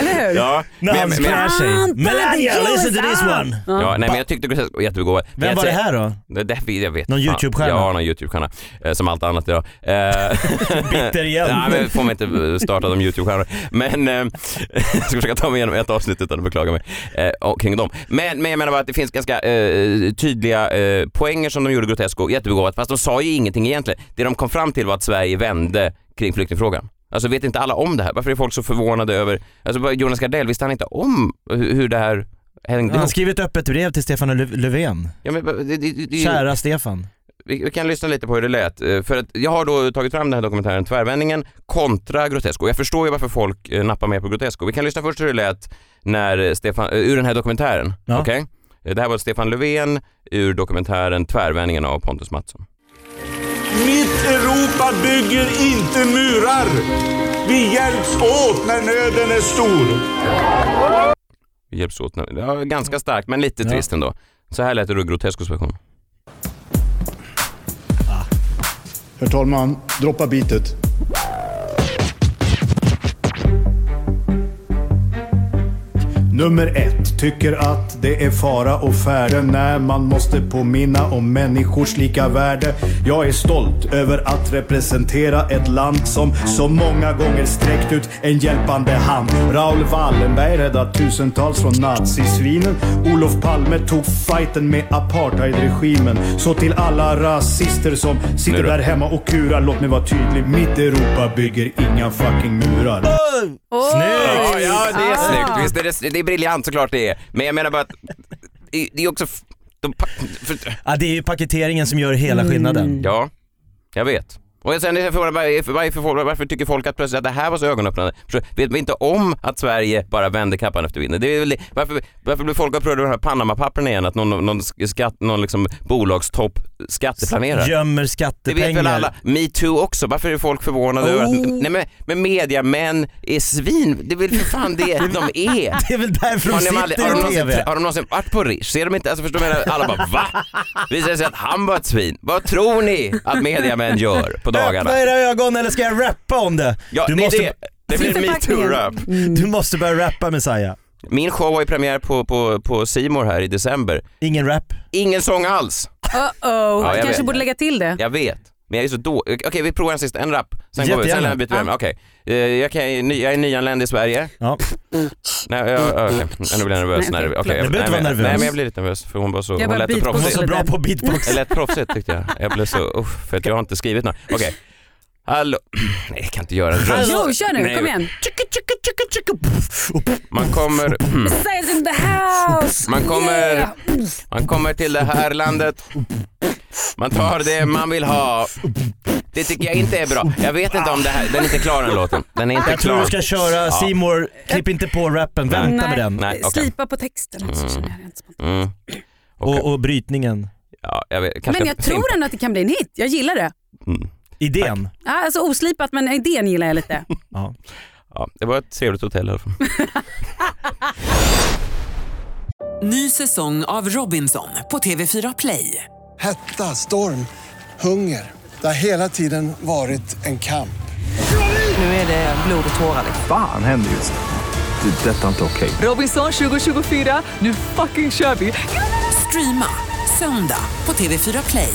[SPEAKER 7] Eller hur?
[SPEAKER 5] Ja,
[SPEAKER 4] När
[SPEAKER 5] men,
[SPEAKER 4] han
[SPEAKER 5] men, men,
[SPEAKER 4] klär sig. Melania, listen to this one!
[SPEAKER 5] ja, nej, men jag tyckte Grotesco var jättebegåvad. Men
[SPEAKER 4] Vem
[SPEAKER 5] jag
[SPEAKER 4] var det
[SPEAKER 5] säger-
[SPEAKER 4] här då?
[SPEAKER 5] Det, det, jag vet
[SPEAKER 4] Någon
[SPEAKER 5] fan.
[SPEAKER 4] YouTube-stjärna?
[SPEAKER 5] Ja, någon YouTube-stjärna. Eh, som allt annat idag.
[SPEAKER 4] <laughs>
[SPEAKER 5] Eh, <laughs>
[SPEAKER 4] Bitter igen.
[SPEAKER 5] Nej, men får man inte eh, starta de YouTube-stjärnor. Men eh, <laughs> jag ska försöka ta mig igenom ett avsnitt utan att beklaga mig eh, och kring dem. Men, men jag menar bara att det finns ganska eh, tydliga eh, poänger som de gjorde Grotesco, jättebegåvat, fast de sa ju ingenting egentligen. Det de kom fram till var att Sverige vände kring flyktingfrågan. Alltså vet inte alla om det här? Varför är folk så förvånade över, alltså bara Jonas Gardell, visste han inte om hur hur det här hängde
[SPEAKER 4] Han
[SPEAKER 5] ihop?
[SPEAKER 4] skrev ett öppet brev till Stefan Lö- Löfven.
[SPEAKER 5] Ja, men, det, det, det, det,
[SPEAKER 4] Kära Stefan.
[SPEAKER 5] vi, vi kan lyssna lite på hur det lät. Eh, För att jag har då tagit fram den här dokumentären Tvärvändningen kontra Grotesco. Jag förstår ju varför folk eh, nappar med på Grotesco. Vi kan lyssna först hur det lät när eh, Stefan, eh, ur den här dokumentären.
[SPEAKER 4] Ja.
[SPEAKER 5] Okej? Eh, Det här var Stefan Löfven ur dokumentären Tvärvändningen av Pontus Mattsson.
[SPEAKER 9] Mitt Europa bygger inte murar. Vi hjälps åt när nöden är stor.
[SPEAKER 5] Vi hjälps åt nu. Ja, ganska starkt men lite trist ändå. Så här lät det då i Grotescos version.
[SPEAKER 10] Herr talman, droppa bitet. Nummer ett tycker att det är fara och färde när man måste påminna om människors lika värde. Jag är stolt över att representera ett land som så många gånger sträckt ut en hjälpande hand. Raoul Wallenberg räddade tusentals från nazisvinen. Olof Palme tog fighten med apartheidregimen. Så till alla rasister som sitter där hemma och kurar, låt mig vara tydlig. Mitt Europa bygger inga fucking murar.
[SPEAKER 7] Oj!
[SPEAKER 5] Ja, ja det är
[SPEAKER 7] Ah.
[SPEAKER 5] snyggt. Visst, det, är, det är briljant såklart det är. Men jag menar bara att det det är också... f- De, pa- för,
[SPEAKER 4] Ja, det är ju paketeringen som gör hela
[SPEAKER 5] Mm.
[SPEAKER 4] skillnaden.
[SPEAKER 5] Ja, jag vet. Och sen är jag förvånad, varför, varför, varför tycker folk att plötsligt att det här var så ögonöppnande? Förstår du? Vet vi inte om att Sverige bara vänder kappan efter vinden? Det är väl, varför, varför blir folk upprörda över de här Panama-papperna igen? Att någon, någon, skatt, någon liksom bolagstopp skatteplanerar?
[SPEAKER 4] Gömmer
[SPEAKER 5] Det vet väl
[SPEAKER 4] skattepengar.
[SPEAKER 5] alla. Metoo också. Varför är folk förvånade över att nej, men, men mediamän är svin? Det är väl för fan det de är.
[SPEAKER 4] Det är väl därför de
[SPEAKER 5] Har, ni aldrig, har, de
[SPEAKER 4] sitter i
[SPEAKER 5] någonsin,
[SPEAKER 4] TV.
[SPEAKER 5] har de någonsin varit på Rish? Ser de inte, alltså förstår du vad jag menar? alla bara va? Visar det sig att han var ett svin? Vad tror ni att mediamän gör på dagarna?
[SPEAKER 4] Öppna era ögon eller ska jag rappa om det?
[SPEAKER 5] Ja,
[SPEAKER 4] du,
[SPEAKER 5] det, är
[SPEAKER 4] måste,
[SPEAKER 5] det, det blir en metoo-rap.
[SPEAKER 7] Mm.
[SPEAKER 4] du måste börja rappa Messiah.
[SPEAKER 5] Min show har ju premiär på, på, på C More här i december.
[SPEAKER 4] Ingen rap.
[SPEAKER 5] Ingen sång alls,
[SPEAKER 7] Uh-oh.
[SPEAKER 5] jag
[SPEAKER 7] jag kanske
[SPEAKER 5] vet.
[SPEAKER 7] borde lägga till det.
[SPEAKER 5] jag vet. Men jag är så då. Okej vi provar en sista, en rap. Sen går vi,
[SPEAKER 4] Jättegärna.
[SPEAKER 5] sen byter vi ämne. Okej, Eh, jag, kan, jag är nyanländ i Sverige.
[SPEAKER 4] Ja.
[SPEAKER 5] Nej, jag, okej. Nu blir jag nervös.
[SPEAKER 7] Nej,
[SPEAKER 5] Nej, okay.
[SPEAKER 7] okej.
[SPEAKER 5] okay,
[SPEAKER 4] Du behöver inte vara nervös.
[SPEAKER 5] Nej men jag blir lite nervös för hon var så,
[SPEAKER 7] bara
[SPEAKER 5] hon lät så
[SPEAKER 7] beatboxar
[SPEAKER 5] proffsig.
[SPEAKER 4] Du var så bra på beatbox.
[SPEAKER 5] Det lät proffsigt tyckte jag. Jag blev så, uff, för att jag har inte skrivit något. Okej. Hallå. Nej, jag kan inte göra en röst.
[SPEAKER 7] Jo, kör nu.
[SPEAKER 5] Nej.
[SPEAKER 7] Kom igen.
[SPEAKER 5] Man kommer,
[SPEAKER 7] Sales in the house!
[SPEAKER 5] man kommer,
[SPEAKER 7] Yeah.
[SPEAKER 5] man kommer till det här landet. Man tar det man vill ha. Det tycker jag inte är bra. Jag vet inte om det här, den är inte klar den låten. Den är inte
[SPEAKER 4] Jag
[SPEAKER 5] klar.
[SPEAKER 4] tror du ska köra C More. klipp inte på rappen,
[SPEAKER 5] Nej.
[SPEAKER 4] vänta med den.
[SPEAKER 5] Nej, okej.
[SPEAKER 7] Slipa på texten. Så känner jag rent spontant.
[SPEAKER 5] Mm. Okej.
[SPEAKER 4] Och, och brytningen,
[SPEAKER 5] Ja, jag vet, kanske
[SPEAKER 7] Men jag tror ändå att det kan bli en hit. Jag gillar det.
[SPEAKER 5] Mm.
[SPEAKER 4] idén.
[SPEAKER 7] Ja, Alltså oslipat men idén gillar jag
[SPEAKER 5] <laughs>
[SPEAKER 7] lite.
[SPEAKER 4] Ja.
[SPEAKER 5] Ja, det var ett trevligt hotell i alla fall.
[SPEAKER 1] Ny säsong av Robinson på TV4 Play.
[SPEAKER 2] Hetta, storm, hunger. Det har hela tiden varit en kamp.
[SPEAKER 1] Nu är det blod och tårar. liksom?
[SPEAKER 3] Fan händer just det. Det är detta inte okej.
[SPEAKER 1] Robinson 2024, nu fucking kör vi! Streama söndag på TV4 Play.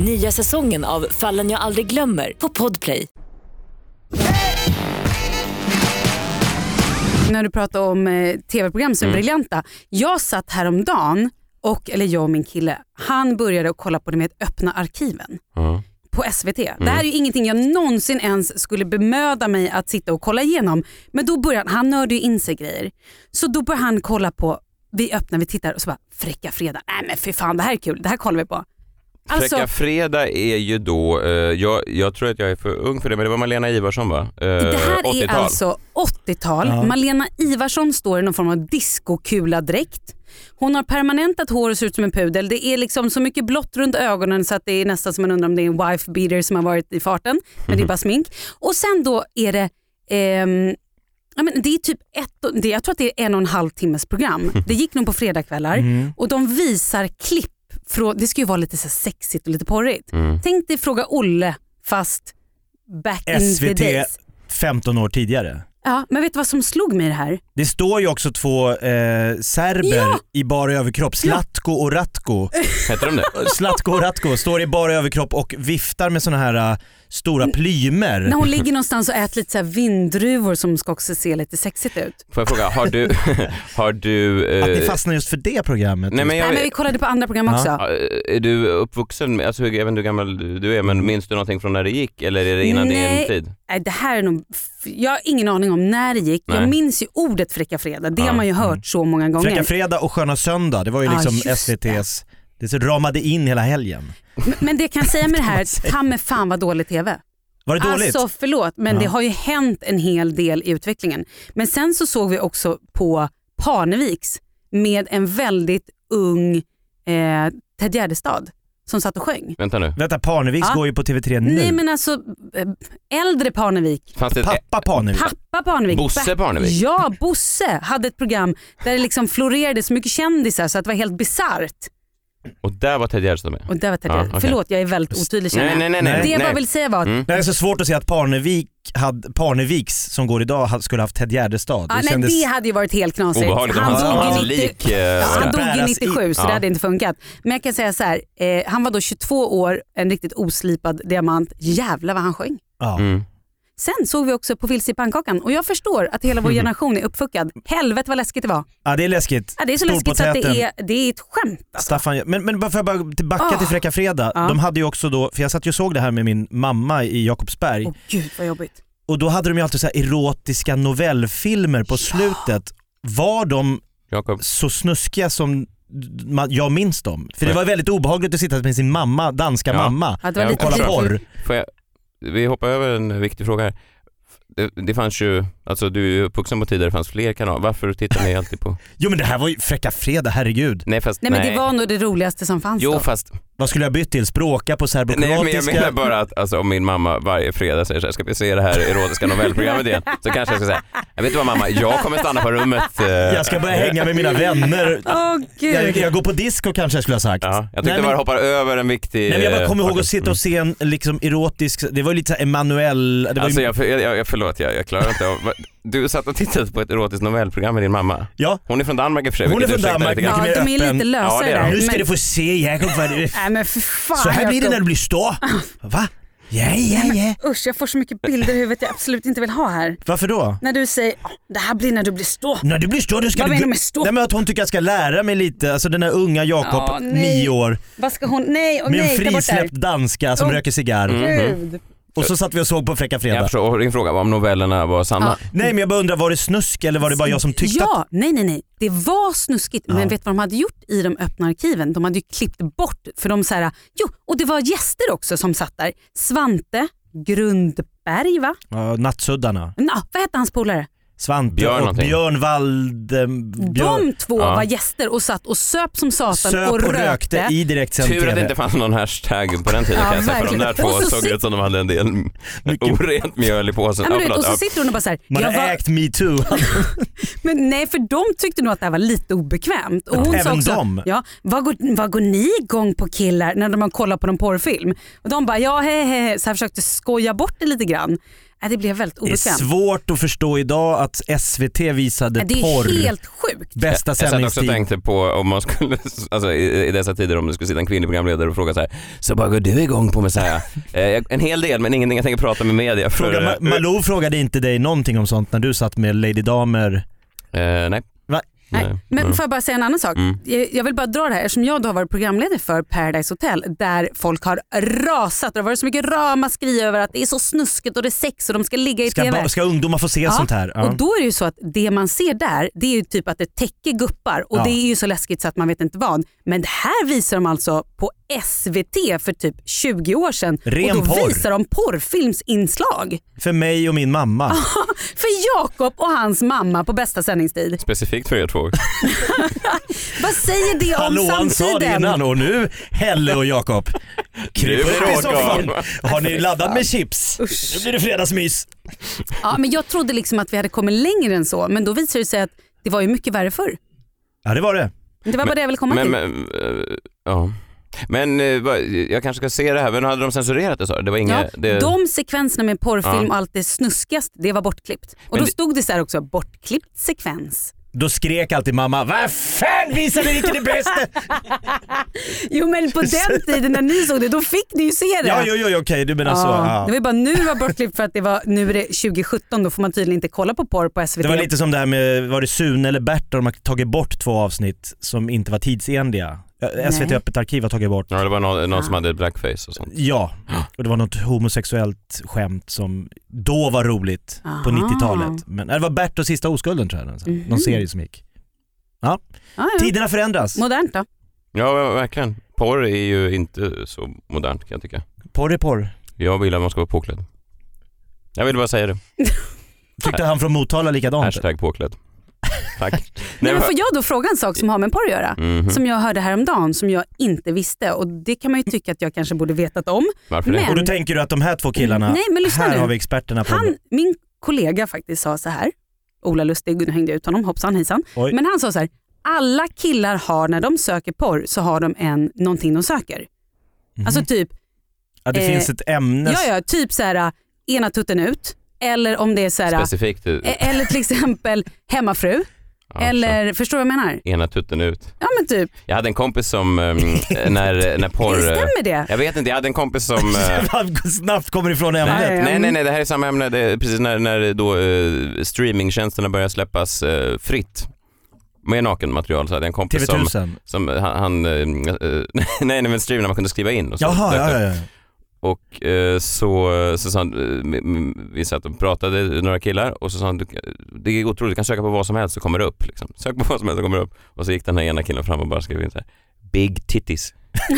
[SPEAKER 11] Nya säsongen av Fallen jag aldrig glömmer på Podplay.
[SPEAKER 7] När du pratar om eh, tv-program
[SPEAKER 5] Mm.
[SPEAKER 7] som är briljanta. Jag satt häromdagen, och, eller jag och min kille, han började att kolla på det med öppna arkiven.
[SPEAKER 5] Mm.
[SPEAKER 7] på SVT. Det här är ju ingenting jag någonsin ens skulle bemöda mig att sitta och kolla igenom. Men då började han, han nördade ju in sig grejer. Så då började han kolla på vi öppnar, vi tittar och så bara Fräcka fredag, nej men fy fan det här är kul, det här kollar vi på. Alltså,
[SPEAKER 5] Fräcka fredag är ju då, eh, jag, jag tror att jag är för ung för det, men det var Malena Ivarsson va? Eh,
[SPEAKER 7] det här
[SPEAKER 5] 80-tal.
[SPEAKER 7] är alltså 80-tal.
[SPEAKER 5] Ja.
[SPEAKER 7] Malena Ivarsson står i någon form av discokula-dräkt. Hon har permanentat hår och ser ut som en pudel. Det är liksom så mycket blått runt ögonen så att det är nästan som man undrar om det är en wife beater som har varit i farten. Men det är bara smink. Och sen då är det ehm, Ja, men det är typ ett, och- det, jag tror att det är en och en halv timmes program. Det gick nog på fredagskvällar
[SPEAKER 12] Mm.
[SPEAKER 7] och de visar klipp från, det ska ju vara lite så här sexigt och lite porrigt.
[SPEAKER 4] Mm.
[SPEAKER 7] Tänk dig Fråga Olle fast back in the
[SPEAKER 4] SVT
[SPEAKER 7] days.
[SPEAKER 4] 15 år tidigare.
[SPEAKER 7] Ja, men vet du vad som slog mig i det här?
[SPEAKER 4] Det står ju också två eh, serber
[SPEAKER 7] Ja!
[SPEAKER 4] i bara överkropp, Slatko och
[SPEAKER 7] <laughs>
[SPEAKER 4] Ratko.
[SPEAKER 5] Heter de det?
[SPEAKER 4] Slatko och Ratko står i bara överkropp och viftar med såna här eh, stora plymer.
[SPEAKER 7] När
[SPEAKER 4] <laughs>
[SPEAKER 7] hon ligger någonstans och äter lite så här vindruvor som ska också se lite sexigt ut.
[SPEAKER 5] Får jag fråga, har du...
[SPEAKER 4] <laughs>
[SPEAKER 5] har du eh,
[SPEAKER 4] Att ni fastnar just för det programmet.
[SPEAKER 5] Nej, men jag-
[SPEAKER 7] Nej, men vi kollade på andra program också.
[SPEAKER 5] Ja, eh, Är du uppvuxen, med- alltså, jag vet inte hur gammal du är, men minns du någonting från när det gick eller är det innan din
[SPEAKER 7] Nej,
[SPEAKER 5] tid?
[SPEAKER 7] Nej, det här är nog, f- jag har ingen aning om när det gick.
[SPEAKER 4] Nej.
[SPEAKER 7] Jag minns ju ordet Fräcka Fredag.
[SPEAKER 4] Ja.
[SPEAKER 7] Det
[SPEAKER 4] Mm.
[SPEAKER 7] har man ju hört så många gånger.
[SPEAKER 4] Fräcka fredag och sköna söndag, det var ju
[SPEAKER 7] Ja,
[SPEAKER 4] liksom
[SPEAKER 7] Ah, just det.
[SPEAKER 4] SVT's, det så ramade in hela helgen.
[SPEAKER 7] Men- Men det jag
[SPEAKER 4] <laughs>
[SPEAKER 7] kan säga med det här, ta mig fan vad dålig TV.
[SPEAKER 4] Var det dåligt?
[SPEAKER 7] Alltså förlåt, men
[SPEAKER 4] Ja.
[SPEAKER 7] det har ju hänt en hel del i utvecklingen. Men sen så såg vi också på Parneviks med en väldigt ung eh, Ted Gärdestad som satt och sjöng.
[SPEAKER 5] Vänta nu.
[SPEAKER 4] Vänta, Parneviks
[SPEAKER 7] Ja.
[SPEAKER 4] går ju på TV3 nu.
[SPEAKER 7] ah. Nej men alltså eh, äldre Parnevik.
[SPEAKER 5] Fanns det ett-
[SPEAKER 4] Pappa Parnevik.
[SPEAKER 7] Pappa Parnevik.
[SPEAKER 5] Bosse
[SPEAKER 7] Ba-
[SPEAKER 5] Parnevik.
[SPEAKER 7] Ja, Bosse hade ett program där det liksom florerade så mycket kändisar så att det var helt bisarrt.
[SPEAKER 5] Och där var Ted Gärdestad med?
[SPEAKER 7] Och där var Ted Gärdestad.
[SPEAKER 5] okej.
[SPEAKER 7] Förlåt, jag är väldigt otydlig känner
[SPEAKER 5] Nej,
[SPEAKER 7] jag.
[SPEAKER 5] nej, nej, nej,
[SPEAKER 7] Det jag bara
[SPEAKER 5] nej.
[SPEAKER 7] vill säga var att
[SPEAKER 4] Det är så svårt att se att Parnevik hade, Parneviks som går idag ha- skulle haft Ted Gärdestad.
[SPEAKER 7] Ja, Ah, nej, det hade ju varit helt knasigt.
[SPEAKER 4] Obehagligt om
[SPEAKER 7] Han,
[SPEAKER 4] hans-
[SPEAKER 7] dog,
[SPEAKER 4] hans
[SPEAKER 7] i 90,
[SPEAKER 4] lik, eh,
[SPEAKER 7] ja,
[SPEAKER 4] var
[SPEAKER 7] han
[SPEAKER 4] där.
[SPEAKER 7] dog i
[SPEAKER 4] Bäras i-
[SPEAKER 7] 97 så
[SPEAKER 4] Ja.
[SPEAKER 7] det hade inte funkat. Men jag kan säga så här, eh, han var då 22 år, en riktigt oslipad diamant. Jävlar vad han sjöng.
[SPEAKER 4] Ja.
[SPEAKER 5] Mm.
[SPEAKER 7] Sen såg vi också På vilse i pannkakan och jag förstår att hela vår
[SPEAKER 4] Mhm.
[SPEAKER 7] generation är uppfuckad. Helvete vad läskigt det var.
[SPEAKER 4] ja det är läskigt.
[SPEAKER 7] Ja, det är så
[SPEAKER 4] Stor
[SPEAKER 7] läskigt
[SPEAKER 4] på
[SPEAKER 7] så att
[SPEAKER 4] täten.
[SPEAKER 7] det är, det är ett skämt.
[SPEAKER 4] Staffan, men, men bara för att bara tillbaka
[SPEAKER 7] Ah.
[SPEAKER 4] till Fräcka Fredag.
[SPEAKER 7] Ja.
[SPEAKER 4] De hade ju också då, för jag satt ju och såg det här med min mamma i Jakobsberg.
[SPEAKER 7] Åh gud vad jobbigt.
[SPEAKER 4] Och då hade de ju alltid så här erotiska novellfilmer på slutet. Var de så snuskiga som man, jag minns dem? För det
[SPEAKER 5] Nej.
[SPEAKER 4] var väldigt obehagligt att sitta med sin mamma, danska
[SPEAKER 5] Ja.
[SPEAKER 4] mamma,
[SPEAKER 7] Ja, det var
[SPEAKER 4] och
[SPEAKER 7] lite
[SPEAKER 4] kolla
[SPEAKER 7] creepy.
[SPEAKER 4] porr.
[SPEAKER 5] Får jag, vi hoppar över en viktig fråga här. Det, det fanns ju, alltså du är ju uppvuxen på tider där det fanns fler kanaler. Varför tittar ni alltid på?
[SPEAKER 4] Jo men det här var ju Fräcka Fredag, herregud.
[SPEAKER 5] Nej fast
[SPEAKER 7] Nej, men det var nog det roligaste som fanns
[SPEAKER 5] Jo
[SPEAKER 7] då.
[SPEAKER 5] fast
[SPEAKER 4] Vad skulle jag bytt till? Språka på
[SPEAKER 5] Nej, men jag
[SPEAKER 4] serbokroatiska?
[SPEAKER 5] menar <laughs> bara att alltså, om min mamma varje fredag säger så här, ska vi se det här erotiska novellprogrammet igen? Så kanske jag ska säga, jag vet inte vad mamma, jag kommer stanna på rummet. eh."
[SPEAKER 4] Jag ska börja hänga med
[SPEAKER 5] <laughs>
[SPEAKER 4] mina vänner.
[SPEAKER 7] Åh gud.
[SPEAKER 4] Jag, jag går på disco kanske jag skulle ha sagt.
[SPEAKER 5] Jag tyckte
[SPEAKER 4] Nej, men-
[SPEAKER 5] bara hoppar över en viktig...
[SPEAKER 4] Nej, men jag bara kommer
[SPEAKER 5] eh,
[SPEAKER 4] ihåg att sitta och se en liksom, erotisk, det var ju lite såhär Emanuel, det var
[SPEAKER 5] Alltså
[SPEAKER 4] ju,
[SPEAKER 5] jag, jag, jag, förlåt, jag, jag klarar inte av... vad- Du satt och tittade på ett erotiskt novellprogram med din mamma.
[SPEAKER 4] Ja.
[SPEAKER 5] Hon är från Danmark i och för sig.
[SPEAKER 4] hon är
[SPEAKER 5] vilket
[SPEAKER 4] från
[SPEAKER 5] ursäktar
[SPEAKER 4] Danmark,
[SPEAKER 5] lite grann.
[SPEAKER 7] Ja, de är lite lösare
[SPEAKER 5] Ja, det är de.
[SPEAKER 4] Nu ska
[SPEAKER 7] men-
[SPEAKER 4] du få se Jakob vad det
[SPEAKER 7] Nej men för fan
[SPEAKER 4] Så här blir det
[SPEAKER 7] Jakob.
[SPEAKER 4] när du blir stor. Va? Ja, ja,
[SPEAKER 7] Nej, men
[SPEAKER 4] ja.
[SPEAKER 7] Usch, jag får så mycket bilder i huvudet jag absolut inte vill ha här.
[SPEAKER 4] Varför då?
[SPEAKER 7] När du säger "Ah, det här blir när du blir stå.
[SPEAKER 4] När du blir stor då ska
[SPEAKER 7] Vad
[SPEAKER 4] du...
[SPEAKER 7] menar du med stå?
[SPEAKER 4] Nej men att hon tycker jag ska lära mig lite, alltså den där unga Jakob,
[SPEAKER 7] Ja, nej.
[SPEAKER 4] nio år.
[SPEAKER 7] Vad ska hon? Nej, och
[SPEAKER 4] Med en
[SPEAKER 7] nej, ta bort det här. Mm.
[SPEAKER 4] frisläppt danska som
[SPEAKER 7] Åh,
[SPEAKER 4] röker cigarr. Mm.
[SPEAKER 7] Gud.
[SPEAKER 4] Och så satt vi och såg på Fräcka
[SPEAKER 5] Jag
[SPEAKER 4] Fredag.
[SPEAKER 5] förstår, och din fråga var om novellerna var sanna.
[SPEAKER 4] Nej men jag bara undrar, var det snusk eller var det bara jag som tyckte
[SPEAKER 7] Ja,
[SPEAKER 4] att...
[SPEAKER 7] nej nej nej. Det var snuskigt men vet du vad de hade gjort i de öppna arkiven? De hade ju klippt bort för de så här, jo och det var gäster också som satt där. Svante Grundberg va?
[SPEAKER 4] Ja, nattsuddarna.
[SPEAKER 7] Nå, vad hette hans polare?
[SPEAKER 4] Svante
[SPEAKER 5] Björn
[SPEAKER 4] och
[SPEAKER 5] någonting.
[SPEAKER 4] Björn Waldem... Björn...
[SPEAKER 7] De två var gäster och satt och söp som satan
[SPEAKER 4] Söp
[SPEAKER 7] och,
[SPEAKER 4] och rökte i direktsänd
[SPEAKER 5] Tur att det
[SPEAKER 4] TV.
[SPEAKER 5] inte fanns någon hashtag på den tiden
[SPEAKER 7] Ja,
[SPEAKER 5] kan jag säga, för de
[SPEAKER 7] verkligen.
[SPEAKER 5] där två
[SPEAKER 7] Och så
[SPEAKER 5] såg
[SPEAKER 7] sit-
[SPEAKER 5] ut som de hade en del orent mjöl i påsen.
[SPEAKER 7] Ja, men du
[SPEAKER 5] Ja,
[SPEAKER 7] vet, och
[SPEAKER 5] förlåt.
[SPEAKER 7] så
[SPEAKER 5] Ja.
[SPEAKER 7] sitter hon och bara så här,
[SPEAKER 4] Man har
[SPEAKER 7] jag var
[SPEAKER 4] ägt metoo.
[SPEAKER 7] Men nej, för de tyckte nog att det här var lite obekvämt. Och hon sa
[SPEAKER 4] Även
[SPEAKER 7] också,
[SPEAKER 4] de?
[SPEAKER 7] Ja, vad, går, vad går ni igång på killar när man kollar på någon porrfilm? Och de bara, ja he, he, he. Så här försökte skoja bort det lite grann. Nej, det blev väldigt
[SPEAKER 4] Det är
[SPEAKER 7] obekvämt.
[SPEAKER 4] svårt att förstå idag att SVT visade
[SPEAKER 7] Nej, det är
[SPEAKER 4] porr.
[SPEAKER 7] helt sjukt.
[SPEAKER 4] Bästa
[SPEAKER 5] jag satt också och
[SPEAKER 4] sändningstid.
[SPEAKER 5] tänkte på om man skulle, alltså i, i dessa tider om det skulle sitta en kvinnlig programledare och fråga så här, så vad går du igång på med så
[SPEAKER 4] <laughs>
[SPEAKER 5] här? Eh, en hel del men ingenting jag tänker prata med media för. eh,
[SPEAKER 4] Fråga, Ma- Malou frågade inte dig någonting om sånt när du satt med Lady Damer.
[SPEAKER 5] Eh, nej.
[SPEAKER 4] Va?
[SPEAKER 7] Nej. Men får jag bara säga en annan sak?
[SPEAKER 5] Mm.
[SPEAKER 7] Jag- Jag vill bara dra det här eftersom jag då har varit programledare för Paradise Hotel där folk har rasat. Det har varit så mycket ramaskri över att det är så snuskigt och det är sex och de ska ligga i
[SPEAKER 4] Ska,
[SPEAKER 7] TV.
[SPEAKER 4] ba- ska ungdomar få se
[SPEAKER 7] Ja,
[SPEAKER 4] sånt här? Ja.
[SPEAKER 7] Och då är det ju så att det man ser där det är ju typ att det täcker guppar och
[SPEAKER 4] Ja.
[SPEAKER 7] det är ju så läskigt så att man vet inte vad. Men det här visar de alltså på SVT för typ 20 år sedan
[SPEAKER 4] Ren
[SPEAKER 7] och då
[SPEAKER 4] porr.
[SPEAKER 7] visar de porrfilmsinslag
[SPEAKER 4] För mig och min mamma.
[SPEAKER 7] för Jakob och hans mamma på bästa sändningstid.
[SPEAKER 5] Specifikt för er
[SPEAKER 4] <laughs>
[SPEAKER 5] två.
[SPEAKER 7] Vad säger det om
[SPEAKER 4] Hallå, han sa det
[SPEAKER 7] samtiden?
[SPEAKER 4] innan och nu Helle och Jakob.
[SPEAKER 5] <laughs>
[SPEAKER 4] Kryp
[SPEAKER 5] Nu är
[SPEAKER 4] upp
[SPEAKER 5] det
[SPEAKER 4] i soffan.
[SPEAKER 5] Jakob.
[SPEAKER 4] Har ni laddat med chips? Nu blir det fredagsmys.
[SPEAKER 7] Ja, men jag trodde liksom att vi hade kommit längre än så, men då visar det sig att det var ju mycket värre förr.
[SPEAKER 4] Ja det var det.
[SPEAKER 7] Det var bara det jag ville komma
[SPEAKER 5] men,
[SPEAKER 7] till.
[SPEAKER 5] Men, eh, ja. men eh, vad- jag kanske ska se det här, men hade de censurerat det sa du? Det var inga,
[SPEAKER 7] ja,
[SPEAKER 5] det...
[SPEAKER 7] De sekvenserna med porrfilm
[SPEAKER 5] Ja.
[SPEAKER 7] och allt det snuskigaste, det var bortklippt. Och
[SPEAKER 4] Men
[SPEAKER 7] då
[SPEAKER 4] det-
[SPEAKER 7] stod det så här också, bortklippt sekvens.
[SPEAKER 4] Då skrek alltid mamma, vad fan visar ni vilken är bäst?
[SPEAKER 7] <laughs> Jo men på den tiden när ni såg det, då fick ni ju se det.
[SPEAKER 4] Ja, jo, jo, jo, okej, du menar så.
[SPEAKER 7] Ja,
[SPEAKER 4] Ja.
[SPEAKER 7] Det var ju bara nu det var bortklippt för att det var, nu är det 2017, då får man tydligen inte kolla på porr på SVT.
[SPEAKER 4] Det var lite som det här med, var det Sune eller Bert där de har tagit bort två avsnitt som inte var tidsenliga. Eh, SVT
[SPEAKER 7] Nej.
[SPEAKER 4] Öppet Arkiv har tagit bort.
[SPEAKER 5] Ja, det var någon, någon som hade blackface och sånt.
[SPEAKER 4] Ja, och det var något homosexuellt skämt som då var roligt på
[SPEAKER 7] Aha.
[SPEAKER 4] 90-talet. Men nej, det var Bert och Sista Oskulden tror jag, den-
[SPEAKER 7] Ah. Mhm.
[SPEAKER 4] någon serie som gick. Ja.
[SPEAKER 7] Ja, ja.
[SPEAKER 4] Tiderna förändras.
[SPEAKER 7] Modernt då.
[SPEAKER 5] Ja, ver- verkligen. Porr är ju inte så modernt kan jag tycka.
[SPEAKER 4] Porr är porr.
[SPEAKER 5] Jag vill att man ska vara påklädd. Jag ville bara säga det.
[SPEAKER 4] Tyckte han från Motala likadant?
[SPEAKER 5] Hashtag påklädd. Tack.
[SPEAKER 7] Nej, men
[SPEAKER 5] men-
[SPEAKER 7] får jag då fråga en sak som har med porr att göra?
[SPEAKER 5] Mhm.
[SPEAKER 7] Som jag hörde häromdagen som jag inte visste och det kan man ju tycka att jag kanske borde vetat om. men,
[SPEAKER 4] Och då tänker du att de här två killarna,
[SPEAKER 7] Nej, men lyssna
[SPEAKER 4] här
[SPEAKER 7] nu.
[SPEAKER 4] har vi experterna på
[SPEAKER 5] Mm.
[SPEAKER 7] han, Min kollega faktiskt sa så här, Ola Lustig, nu hängde jag ut honom, hoppsan hejsan.
[SPEAKER 4] Oj.
[SPEAKER 7] Men han sa så här, alla killar har när de söker porr så har de en, någonting de söker.
[SPEAKER 5] Mhm.
[SPEAKER 7] Alltså typ,
[SPEAKER 4] att det
[SPEAKER 7] eh,
[SPEAKER 4] finns ett ämne.
[SPEAKER 7] ja, ja, typ så här, ena tutten ut eller om det är så här,
[SPEAKER 5] Specifikt. Alltså.
[SPEAKER 7] eh, eller till exempel hemmafru. eller, förstår du vad jag menar?
[SPEAKER 5] Ena tutten ut.
[SPEAKER 7] Ja men typ,
[SPEAKER 5] Jag hade en kompis som, eh, när, när porr... eh,
[SPEAKER 7] stämmer det?
[SPEAKER 5] Jag vet inte, jag hade en kompis som... eh,
[SPEAKER 4] Han <laughs> snabbt kommer ifrån ämnet.
[SPEAKER 5] Nej, nej, nej, nej, det här är samma ämne. Det är precis när, när då eh, streamingtjänsterna börjar släppas eh, fritt med nakenmaterial så hade jag en kompis
[SPEAKER 4] TV1000.
[SPEAKER 5] som, som han, han eh, eh, <laughs> nej, nej men streamen man kunde skriva in och så.
[SPEAKER 4] Jaha, ja, ja, ja.
[SPEAKER 5] Och eh, så, så sa han, eh, m- m- vi satt och pratade, några killar, och så sa han, du, det är otroligt, du kan söka på vad som helst så kommer det upp. Liksom. Sök på vad som helst så kommer det upp. Och så gick den här ena killen fram och bara skrev in så här, big titties. <laughs>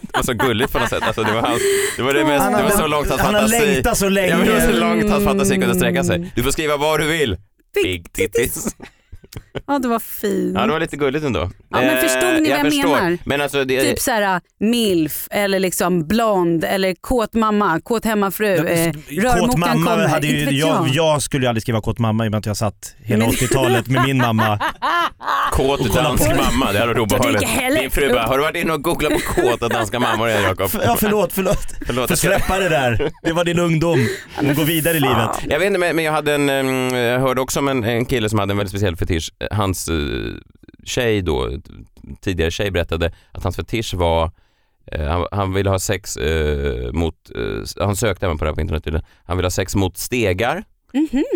[SPEAKER 5] det var så gulligt på något sätt. Alltså, det var, hans, det, var det, mest,
[SPEAKER 4] Han
[SPEAKER 5] det var
[SPEAKER 4] hade-
[SPEAKER 5] så långt hans
[SPEAKER 4] han har
[SPEAKER 5] fantasi.
[SPEAKER 4] längtat så länge.
[SPEAKER 5] Ja, men det var så långt hans fantasi kunde sträcka
[SPEAKER 7] Mm.
[SPEAKER 5] sig. Du får skriva vad du vill. Big titties.
[SPEAKER 7] ja det var fint.
[SPEAKER 5] Ja, det var lite gulligt ändå. Eh,
[SPEAKER 7] Ja, men förstod ni vad jag
[SPEAKER 5] förstår.
[SPEAKER 7] menar?
[SPEAKER 5] Men alltså, det,
[SPEAKER 7] Typ så här milf eller liksom blond eller kåt mamma, kåt hemmafru. eh,
[SPEAKER 4] Kåt
[SPEAKER 7] rörmokaren
[SPEAKER 4] mamma
[SPEAKER 7] kommer.
[SPEAKER 4] hade ju,
[SPEAKER 7] Inte vet
[SPEAKER 4] jag, jag skulle ju aldrig skriva kåt mamma i och med att jag satt hela 80-talet med min mamma.
[SPEAKER 5] Kåt dansk
[SPEAKER 4] på-
[SPEAKER 5] mamma, det hade varit obehagligt.
[SPEAKER 4] dricker heller-
[SPEAKER 5] Min fru bara, har du varit inne och googlat på kåta danska mammor igen Jakob?
[SPEAKER 4] Ja förlåt, förlåt.
[SPEAKER 5] Förlåt,
[SPEAKER 4] Får
[SPEAKER 5] jag ska-
[SPEAKER 4] släppa det där. Det var din ungdom. Hon går vidare i livet.
[SPEAKER 5] Jag vet inte, men men jag, hade en, em, jag hörde också om en, en kille som hade en väldigt speciell fetisch. Hans eh, tjej då, t- tidigare tjej berättade att hans fetisch var eh, han, han ville ha sex eh, mot, eh, han sökte även på det här på internet tydligen. Han ville ha sex mot stegar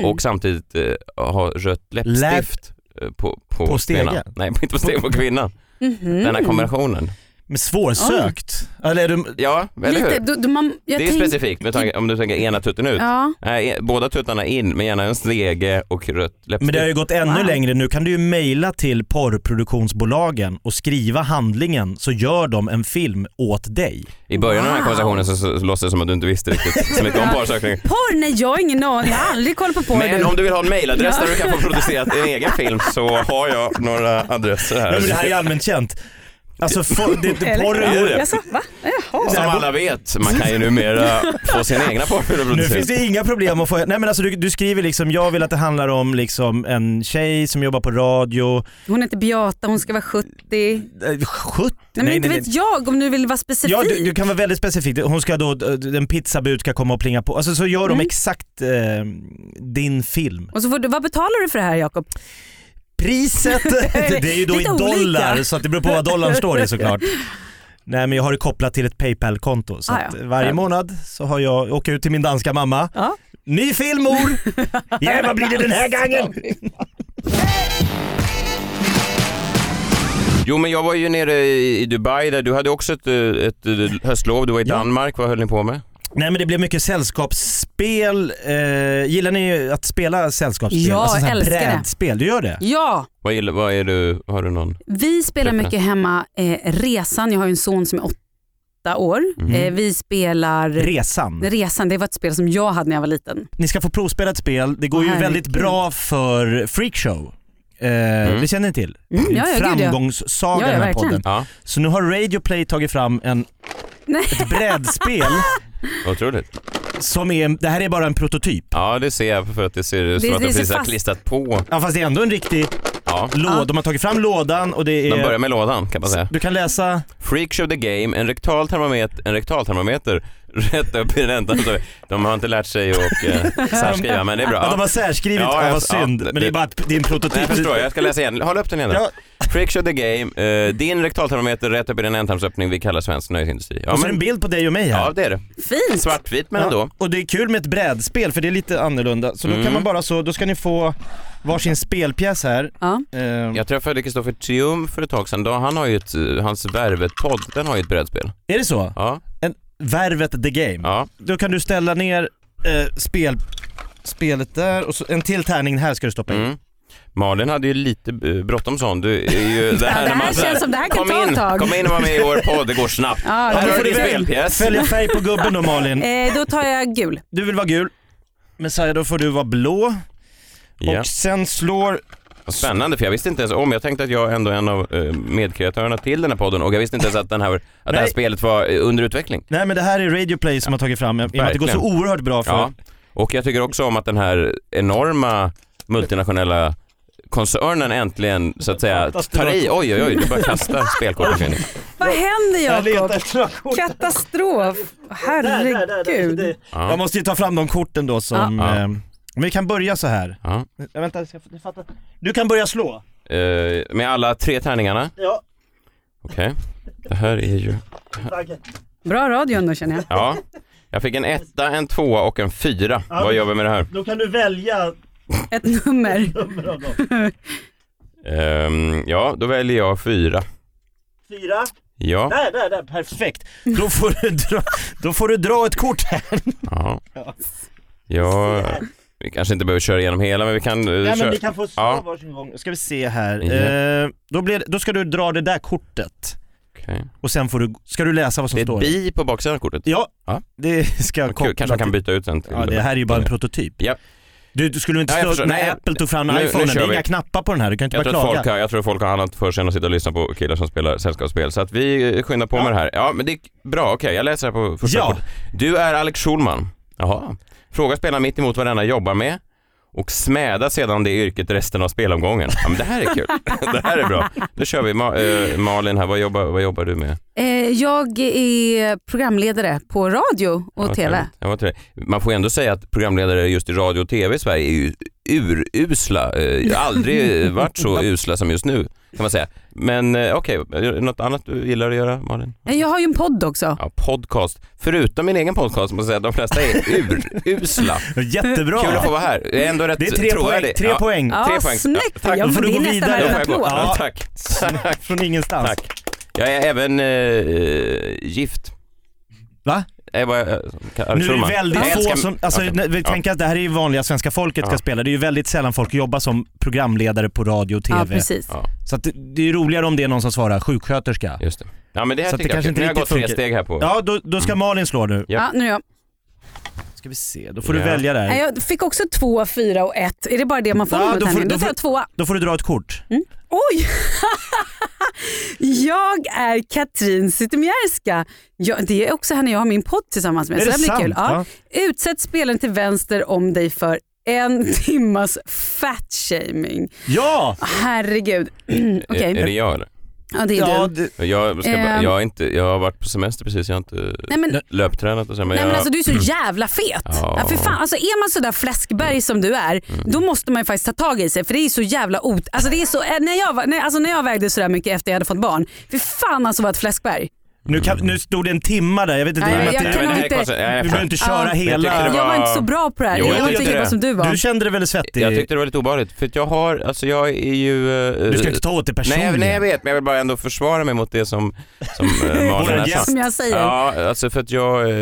[SPEAKER 5] och samtidigt eh, ha rött läppstift eh, på, på, kvinnan.
[SPEAKER 4] På stegen?
[SPEAKER 5] Nej, <laughs> inte på stegen, på kvinnan.
[SPEAKER 7] Mhm.
[SPEAKER 5] Den här kombinationen.
[SPEAKER 4] Men svårsökt. Eller är du...
[SPEAKER 5] Ja, eller
[SPEAKER 7] Lite,
[SPEAKER 5] hur?
[SPEAKER 7] då, då man, jag
[SPEAKER 5] det är ju
[SPEAKER 7] tänk-
[SPEAKER 5] specifikt med tanke, om du tänker ena tutten ut.
[SPEAKER 7] Ja.
[SPEAKER 5] Nej, e- båda tuttarna in men gärna en stege och rött läppstift.
[SPEAKER 4] Men det har ju gått ännu längre. Nu kan du ju mejla till porrproduktionsbolagen och skriva handlingen så gör de en film åt dig.
[SPEAKER 5] I början av den här
[SPEAKER 4] Wow.
[SPEAKER 7] Ah.
[SPEAKER 5] konversationen så, så, så låtsas det som att du inte visste riktigt så mycket om porrsökning.
[SPEAKER 7] Porr? Nej jag har ingen aning. Jag har aldrig kollat på porr.
[SPEAKER 5] Men om du vill ha en mejladress
[SPEAKER 7] Ja.
[SPEAKER 5] där du kan få producerat en egen film så har jag några adresser här.
[SPEAKER 4] Nej, men det här är allmänt känt. Alltså for, det,
[SPEAKER 7] <laughs>
[SPEAKER 4] det,
[SPEAKER 5] Eller?
[SPEAKER 4] porren
[SPEAKER 5] Är
[SPEAKER 4] går...
[SPEAKER 5] det? Jaså,
[SPEAKER 7] va?
[SPEAKER 5] Som alla vet, man kan ju numera få
[SPEAKER 4] <laughs>
[SPEAKER 5] sina egna porrfilmer
[SPEAKER 4] Nu finns
[SPEAKER 5] producerade.
[SPEAKER 4] det inga problem att få... Nej men alltså du, du skriver liksom, jag vill att det handlar om liksom en tjej som jobbar på radio.
[SPEAKER 7] Hon heter Beata, hon ska vara 70. Nej,
[SPEAKER 4] Eh, 70?
[SPEAKER 7] men inte vet jag om du vill vara specifik.
[SPEAKER 4] Ja, du, du kan vara väldigt specifik. Hon ska då, eh, en pizzabud ska komma och plinga på. Alltså så gör de
[SPEAKER 7] Mm.
[SPEAKER 4] exakt eh, din film.
[SPEAKER 7] Och så får du, vad betalar du för det här Jakob? <laughs>
[SPEAKER 4] Priset, det, det är ju då i
[SPEAKER 7] Lite olika.
[SPEAKER 4] dollar så att det beror på vad dollarn står
[SPEAKER 7] <laughs>
[SPEAKER 4] i såklart. Nej men jag har det kopplat till ett Paypal-konto så
[SPEAKER 7] Ah,
[SPEAKER 4] att
[SPEAKER 7] ja.
[SPEAKER 4] varje månad så har jag, åker ut till min danska mamma. Ny
[SPEAKER 7] <laughs>
[SPEAKER 4] film mor! Jävlar blir det den här gången!
[SPEAKER 5] Jo men jag var ju nere i i Dubai där du hade också ett, eh, ett eh, höstlov, du var i Danmark, vad höll ni på med?
[SPEAKER 4] Nej men det blev mycket sällskapsspel. Eh, gillar ni att spela sällskapsspel?
[SPEAKER 7] Ja,
[SPEAKER 4] sån här
[SPEAKER 7] älskar det.
[SPEAKER 4] brädspel. Du gör det?
[SPEAKER 7] Ja,
[SPEAKER 5] Vad, gillar- vad är du, har du någon?
[SPEAKER 7] vi spelar
[SPEAKER 5] Peppra.
[SPEAKER 7] mycket hemma. Eh, resan, jag har ju en son som är åtta år.
[SPEAKER 4] Mm.
[SPEAKER 7] Eh, vi spelar...
[SPEAKER 4] Resan.
[SPEAKER 7] Resan, det var ett spel som jag hade när jag var liten.
[SPEAKER 4] Ni ska få provspela ett spel. Det går ju
[SPEAKER 7] Herregud.
[SPEAKER 4] väldigt bra för Freakshow. Eh, Det känner ni till?
[SPEAKER 7] Mm, ja, ja, gud, ja.
[SPEAKER 4] Framgångssaga
[SPEAKER 7] Ja, ja,
[SPEAKER 4] den här
[SPEAKER 7] verkligen.
[SPEAKER 4] podden. Så nu har Radio Play tagit fram en,
[SPEAKER 7] Nej.
[SPEAKER 4] ett
[SPEAKER 7] <laughs>
[SPEAKER 4] brädspel
[SPEAKER 5] Otroligt.
[SPEAKER 4] som är, det här är bara en prototyp.
[SPEAKER 5] Ja det ser jag för att det ser ut som
[SPEAKER 4] Det-
[SPEAKER 5] att
[SPEAKER 4] det
[SPEAKER 5] de
[SPEAKER 4] ser
[SPEAKER 5] precis har
[SPEAKER 4] fast.
[SPEAKER 5] klistrat på.
[SPEAKER 4] Ja fast det är ändå en riktig
[SPEAKER 5] Ja.
[SPEAKER 4] låda. De har tagit fram lådan och det är...
[SPEAKER 5] Man börjar med lådan kan man säga.
[SPEAKER 4] Du kan läsa...
[SPEAKER 5] Freakshow the game, en rektal termometer, en rektal termometer <laughs> rätt upp i räntan. Så De har inte lärt sig att eh,
[SPEAKER 4] <laughs>
[SPEAKER 5] särskriva men det är bra.
[SPEAKER 4] Att de har särskrivit, ja,
[SPEAKER 5] jag-
[SPEAKER 4] vad synd. men det är bara att det är en prototyp.
[SPEAKER 5] Nej, jag förstår, jag ska läsa igen. Håll upp den igen då. Freakshow the game, eh, din rektaltermometer rätt upp i den ändtarmsöppning vi kallar svensk nöjesindustri. Ja,
[SPEAKER 4] och så är det en bild på dig och mig här.
[SPEAKER 5] ja det är det.
[SPEAKER 7] Fint!
[SPEAKER 5] Svartvit men
[SPEAKER 4] Ja,
[SPEAKER 5] ändå.
[SPEAKER 4] Och det är kul med ett brädspel för det är lite annorlunda. Så då
[SPEAKER 5] Mm.
[SPEAKER 4] kan man bara så, då ska ni få varsin spelpjäs här. Eh,
[SPEAKER 5] Jag träffade Kristoffer Triumf för ett tag sedan. Då, han har ju ett, eh, hans Värvet-podd, den har ju ett brädspel.
[SPEAKER 4] Är det så?
[SPEAKER 5] Ja.
[SPEAKER 4] En, värvet the game.
[SPEAKER 5] Ja.
[SPEAKER 4] Då kan du ställa ner eh, spel, spelet där och så en till tärning här ska du stoppa in.
[SPEAKER 5] Mm. Malin hade ju lite eh, bråttom sa hon. Du är
[SPEAKER 7] <laughs>
[SPEAKER 5] ju det här,
[SPEAKER 7] det
[SPEAKER 5] när man
[SPEAKER 7] här
[SPEAKER 5] så
[SPEAKER 7] känns som- det här kan
[SPEAKER 5] kom
[SPEAKER 7] ta ett
[SPEAKER 5] in,
[SPEAKER 7] tag."
[SPEAKER 5] Kom in och var med i vår podd, det går snabbt.
[SPEAKER 7] <laughs> Ja, det
[SPEAKER 5] här
[SPEAKER 7] går
[SPEAKER 5] har du din
[SPEAKER 7] direkt.
[SPEAKER 5] spelpjäs.
[SPEAKER 4] Följ en färg på gubben då Malin.
[SPEAKER 7] <laughs> Eh, då tar jag gul.
[SPEAKER 4] Du vill vara gul. Messiah, då får du vara blå.
[SPEAKER 5] Ja.
[SPEAKER 4] Och sen slår...
[SPEAKER 5] Vad Spännande för jag visste inte ens om, jag tänkte att jag ändå är en av eh, medkreatörerna till den här podden och jag visste inte ens att, den här, att det här
[SPEAKER 4] Nej.
[SPEAKER 5] spelet var eh, under utveckling.
[SPEAKER 4] Nej men det här är Radio Play som har tagit fram, i och med att det går så
[SPEAKER 5] Verkligen.
[SPEAKER 4] oerhört bra för...
[SPEAKER 5] Ja. Och jag tycker också om att den här enorma multinationella koncernen äntligen så att säga tar i, oj oj oj, du bara
[SPEAKER 7] <laughs>
[SPEAKER 5] kastar spelkort omkring dig.
[SPEAKER 7] Vad händer
[SPEAKER 4] Jag letar <laughs>
[SPEAKER 7] Jakob? Katastrof. Herregud.
[SPEAKER 5] Ja.
[SPEAKER 4] Jag måste ju ta fram de korten då som...
[SPEAKER 5] Ja. Ja.
[SPEAKER 4] Eh, men vi kan börja så här.
[SPEAKER 5] Ja.
[SPEAKER 4] Ja, vänta, jag ska- jag fattar. Du kan börja slå.
[SPEAKER 5] Eh, med alla tre tärningarna?
[SPEAKER 4] Ja.
[SPEAKER 5] Okej, det här är ju...
[SPEAKER 7] Bra radio ändå känner jag.
[SPEAKER 5] Ja, jag fick en etta, en tvåa och en fyra.
[SPEAKER 12] Ja.
[SPEAKER 5] Vad gör vi med det här?
[SPEAKER 12] Då kan du välja
[SPEAKER 7] ett nummer.
[SPEAKER 12] av dem.
[SPEAKER 5] Ehm, ja, då väljer jag fyra.
[SPEAKER 12] Fyra.
[SPEAKER 5] Ja.
[SPEAKER 12] Där, där, där. Perfekt.
[SPEAKER 4] Då får du dra, då får du dra ett kort här.
[SPEAKER 5] Ja. ja. Vi kanske inte behöver köra igenom hela men vi kan... eh,
[SPEAKER 4] men
[SPEAKER 5] köra-
[SPEAKER 4] vi kan få slå
[SPEAKER 5] ja.
[SPEAKER 4] varsin gång. Ska vi se här.
[SPEAKER 5] Ja.
[SPEAKER 4] Eh, då, blir, då ska du dra det där kortet.
[SPEAKER 5] Okej.
[SPEAKER 4] Och sen får du, ska du läsa vad som
[SPEAKER 5] Det är
[SPEAKER 4] står.
[SPEAKER 5] ett bi på baksidan av kortet.
[SPEAKER 4] Ja,
[SPEAKER 5] ja.
[SPEAKER 4] det ska jag koppla
[SPEAKER 5] Kul. Kanske jag kan
[SPEAKER 4] till.
[SPEAKER 5] byta ut den till...
[SPEAKER 4] Ja, det här är ju bara en prototyp.
[SPEAKER 5] Ja.
[SPEAKER 4] Du, du skulle inte
[SPEAKER 5] Ja, jag
[SPEAKER 4] slå
[SPEAKER 5] förstår.
[SPEAKER 4] när
[SPEAKER 5] Nej,
[SPEAKER 4] Apple tog fram
[SPEAKER 5] nu- nu
[SPEAKER 4] iPhonen, det
[SPEAKER 5] kör
[SPEAKER 4] är
[SPEAKER 5] vi.
[SPEAKER 4] inga knappar på den här, du kan inte
[SPEAKER 5] Jag
[SPEAKER 4] bara
[SPEAKER 5] tror, att
[SPEAKER 4] klaga.
[SPEAKER 5] folk har, jag tror att folk har annat för sig än att sitta och lyssna på killar som spelar sällskapsspel. Så att vi eh, skyndar på med det här. Ja, men det är bra. Okej, jag läser här på första
[SPEAKER 4] Ja.
[SPEAKER 5] kortet. Du är Alex Schulman. Jaha. Fråga spelarna mitt emot varandra jobbar med och smäda sedan det yrket resten av spelomgången. Ja, men det här är kul. <laughs> det här är bra. Då kör vi. Ma- eh, Malin här, vad jobbar, vad jobbar du med?
[SPEAKER 7] Eh, jag är programledare på radio och
[SPEAKER 5] Ja,
[SPEAKER 7] tv.
[SPEAKER 5] trevligt. Ja, vad trevligt. Man får ju ändå säga att programledare just i radio och tv i Sverige är ju urusla. Eh, Aldrig
[SPEAKER 4] <laughs>
[SPEAKER 5] eh, varit så usla som just nu kan man säga. Men eh, okej, är det något annat du gillar att göra Malin?
[SPEAKER 7] Eh, Jag har ju en podd också.
[SPEAKER 5] Ja, podcast. Förutom min egen podcast måste jag säga att de flesta är urusla.
[SPEAKER 4] Jättebra!
[SPEAKER 5] Kul att få vara här. Jag är ändå rätt
[SPEAKER 4] Det är tre
[SPEAKER 5] trovärdig.
[SPEAKER 4] poäng. Tre
[SPEAKER 5] ja.
[SPEAKER 4] poäng.
[SPEAKER 7] Ja,
[SPEAKER 5] tre poäng.
[SPEAKER 7] snyggt.
[SPEAKER 5] tack.
[SPEAKER 7] Ja,
[SPEAKER 5] Då får
[SPEAKER 7] men
[SPEAKER 5] du
[SPEAKER 7] det
[SPEAKER 5] gå
[SPEAKER 7] är nästan
[SPEAKER 5] vidare.
[SPEAKER 7] en
[SPEAKER 5] Då får jag gå.
[SPEAKER 7] applåd.
[SPEAKER 5] Ja,
[SPEAKER 7] Ja.
[SPEAKER 5] tack.
[SPEAKER 4] Från ingenstans.
[SPEAKER 5] Tack. Jag är även eh, gift.
[SPEAKER 4] Va?
[SPEAKER 5] Jag var, jag,
[SPEAKER 4] Nu är det
[SPEAKER 5] Jag
[SPEAKER 4] väldigt
[SPEAKER 5] älskar-
[SPEAKER 4] få som, alltså,
[SPEAKER 5] Okej.
[SPEAKER 4] när vi
[SPEAKER 5] Ja.
[SPEAKER 4] tänker att det här är ju vanliga svenska folket ska
[SPEAKER 5] Ja.
[SPEAKER 4] spela. Det är ju väldigt sällan folk jobbar som programledare på radio och TV.
[SPEAKER 7] Ja, precis.
[SPEAKER 5] Ja.
[SPEAKER 4] Så att det, det är ju roligare om det är någon som svarar sjuksköterska.
[SPEAKER 5] Just det. Ja men det här
[SPEAKER 4] Så att
[SPEAKER 5] tycker jag,
[SPEAKER 4] kanske
[SPEAKER 5] jag. Nu har jag
[SPEAKER 4] inte
[SPEAKER 5] gått
[SPEAKER 4] riktigt
[SPEAKER 5] tre
[SPEAKER 4] funkar.
[SPEAKER 5] steg här på.
[SPEAKER 4] Ja, då, då ska
[SPEAKER 5] Mm.
[SPEAKER 4] Malin slå nu.
[SPEAKER 5] Ja.
[SPEAKER 7] Ja, nu är jag.
[SPEAKER 4] Ska vi se, då får du
[SPEAKER 5] Ja.
[SPEAKER 4] välja där.
[SPEAKER 7] Nej, Jag fick också två, fyra och ett. Är det bara det man får? Ja, då, får då tar jag tvåa.
[SPEAKER 4] Då får du dra ett kort.
[SPEAKER 7] Mm, Oj! <laughs> jag är Katrin Zytomierska. Ja, det är också henne jag har min podd tillsammans med.
[SPEAKER 4] Är
[SPEAKER 7] så
[SPEAKER 4] det
[SPEAKER 7] här blir
[SPEAKER 4] sant?
[SPEAKER 7] kul. Ja. Utsätt spelaren till vänster om dig för en <laughs> timmas fatshaming.
[SPEAKER 4] Ja!
[SPEAKER 7] Herregud. <clears throat> Okej.
[SPEAKER 5] Är, är det jag eller?
[SPEAKER 7] Ja, det är du.
[SPEAKER 5] Jag, ska, bara-
[SPEAKER 7] Ehm.
[SPEAKER 5] jag, har inte, jag har varit på semester precis, jag har inte
[SPEAKER 7] Nej, men-
[SPEAKER 5] löptränat och så. Men
[SPEAKER 7] Nej
[SPEAKER 5] jag,
[SPEAKER 7] men alltså du är så jävla fet.
[SPEAKER 5] Mm. Ja. Mm.
[SPEAKER 7] Ja. för fan, alltså, är man sådär fläskberg som du är, då måste man ju faktiskt ta tag i sig för det är så jävla ot... Alltså, det är så, eh, när, jag var, när, alltså, när jag vägde sådär mycket efter jag hade fått barn, för fan alltså vad ett fläskberg.
[SPEAKER 4] Nu, kan, nu stod det en timma där, jag vet inte.
[SPEAKER 7] Nej,
[SPEAKER 4] i och med
[SPEAKER 7] jag
[SPEAKER 4] att det-
[SPEAKER 7] kan nog inte-
[SPEAKER 4] Du behöver inte
[SPEAKER 7] Ja.
[SPEAKER 4] köra
[SPEAKER 7] Jag
[SPEAKER 4] hela.
[SPEAKER 7] tyckte det var- Jag var inte så bra på det här. Jag var inte lika bra som du var.
[SPEAKER 4] Du kände dig väldigt svettig.
[SPEAKER 5] Jag tyckte det var lite obehagligt för att jag har, alltså jag är ju... eh,
[SPEAKER 4] Du ska inte ta åt dig personligen.
[SPEAKER 5] Nej, nej jag vet men jag vill bara ändå försvara mig mot det som, som
[SPEAKER 7] <laughs>
[SPEAKER 5] eh, Malin
[SPEAKER 4] Våran
[SPEAKER 5] här sa.
[SPEAKER 4] gäst. Som
[SPEAKER 7] jag säger.
[SPEAKER 5] Ja, alltså för att jag eh, är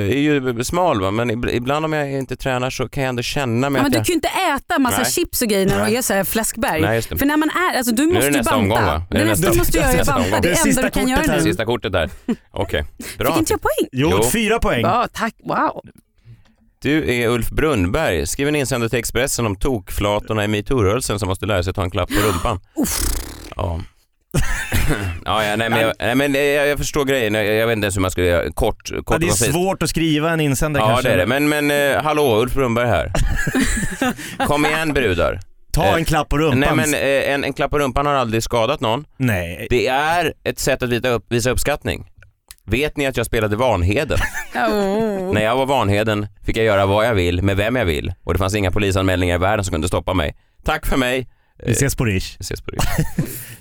[SPEAKER 5] ju smal va men ib- ibland om jag inte tränar så kan jag ändå känna mig
[SPEAKER 7] Ja, men
[SPEAKER 5] att
[SPEAKER 7] du
[SPEAKER 5] jag...
[SPEAKER 7] kan ju inte äta massa
[SPEAKER 5] Nej.
[SPEAKER 7] chips och grejer när man
[SPEAKER 5] Nej.
[SPEAKER 7] är så här fläskberg.
[SPEAKER 5] Nej, just det.
[SPEAKER 7] För när man är, alltså du
[SPEAKER 5] nu är
[SPEAKER 7] måste
[SPEAKER 5] det
[SPEAKER 7] ju
[SPEAKER 5] nästa
[SPEAKER 7] banta.
[SPEAKER 5] omgång va?
[SPEAKER 7] Det nästa, nästa måste jag ju
[SPEAKER 5] Nästa
[SPEAKER 7] banta.
[SPEAKER 5] omgång.
[SPEAKER 7] Det enda du kan göra nu.
[SPEAKER 5] Sista kortet där.
[SPEAKER 7] <laughs>
[SPEAKER 5] Okej, bra.
[SPEAKER 7] Fick inte jag poäng?
[SPEAKER 5] Jo, Jo. fyra poäng.
[SPEAKER 7] Ja, tack. Wow.
[SPEAKER 5] Du är Ulf Brunnberg, skriv en insändare till Expressen om tokflatorna i metoo-rörelsen som måste lära sig ta en klapp på rumpan. Ja. <clears throat> ja, ja, nej, men jag, nej, men eh, jag, jag förstår grejen. Jag, jag vet inte ens hur man skulle göra. Kort, kort
[SPEAKER 4] Ja, det
[SPEAKER 5] och
[SPEAKER 4] är
[SPEAKER 5] koncist.
[SPEAKER 4] svårt att skriva en insändare
[SPEAKER 5] Ja,
[SPEAKER 4] kanske.
[SPEAKER 5] det är det. Men, men eh, hallå, Ulf Brunnberg
[SPEAKER 4] <laughs>
[SPEAKER 5] här. Kom igen brudar.
[SPEAKER 4] Ta en klapp på rumpan.
[SPEAKER 5] Nej, men eh, en, en klapp på rumpan har aldrig skadat någon.
[SPEAKER 4] Nej.
[SPEAKER 5] Det är ett sätt att visa, upp, visa uppskattning. Vet ni att jag spelade Vanheden?
[SPEAKER 7] Oh.
[SPEAKER 5] När jag var Vanheden fick jag göra vad jag vill med vem jag vill och det fanns inga polisanmälningar i världen som kunde stoppa mig. Tack för mig. Vi
[SPEAKER 4] ses på Rish.
[SPEAKER 5] Vi ses på
[SPEAKER 7] <laughs>
[SPEAKER 5] Rish.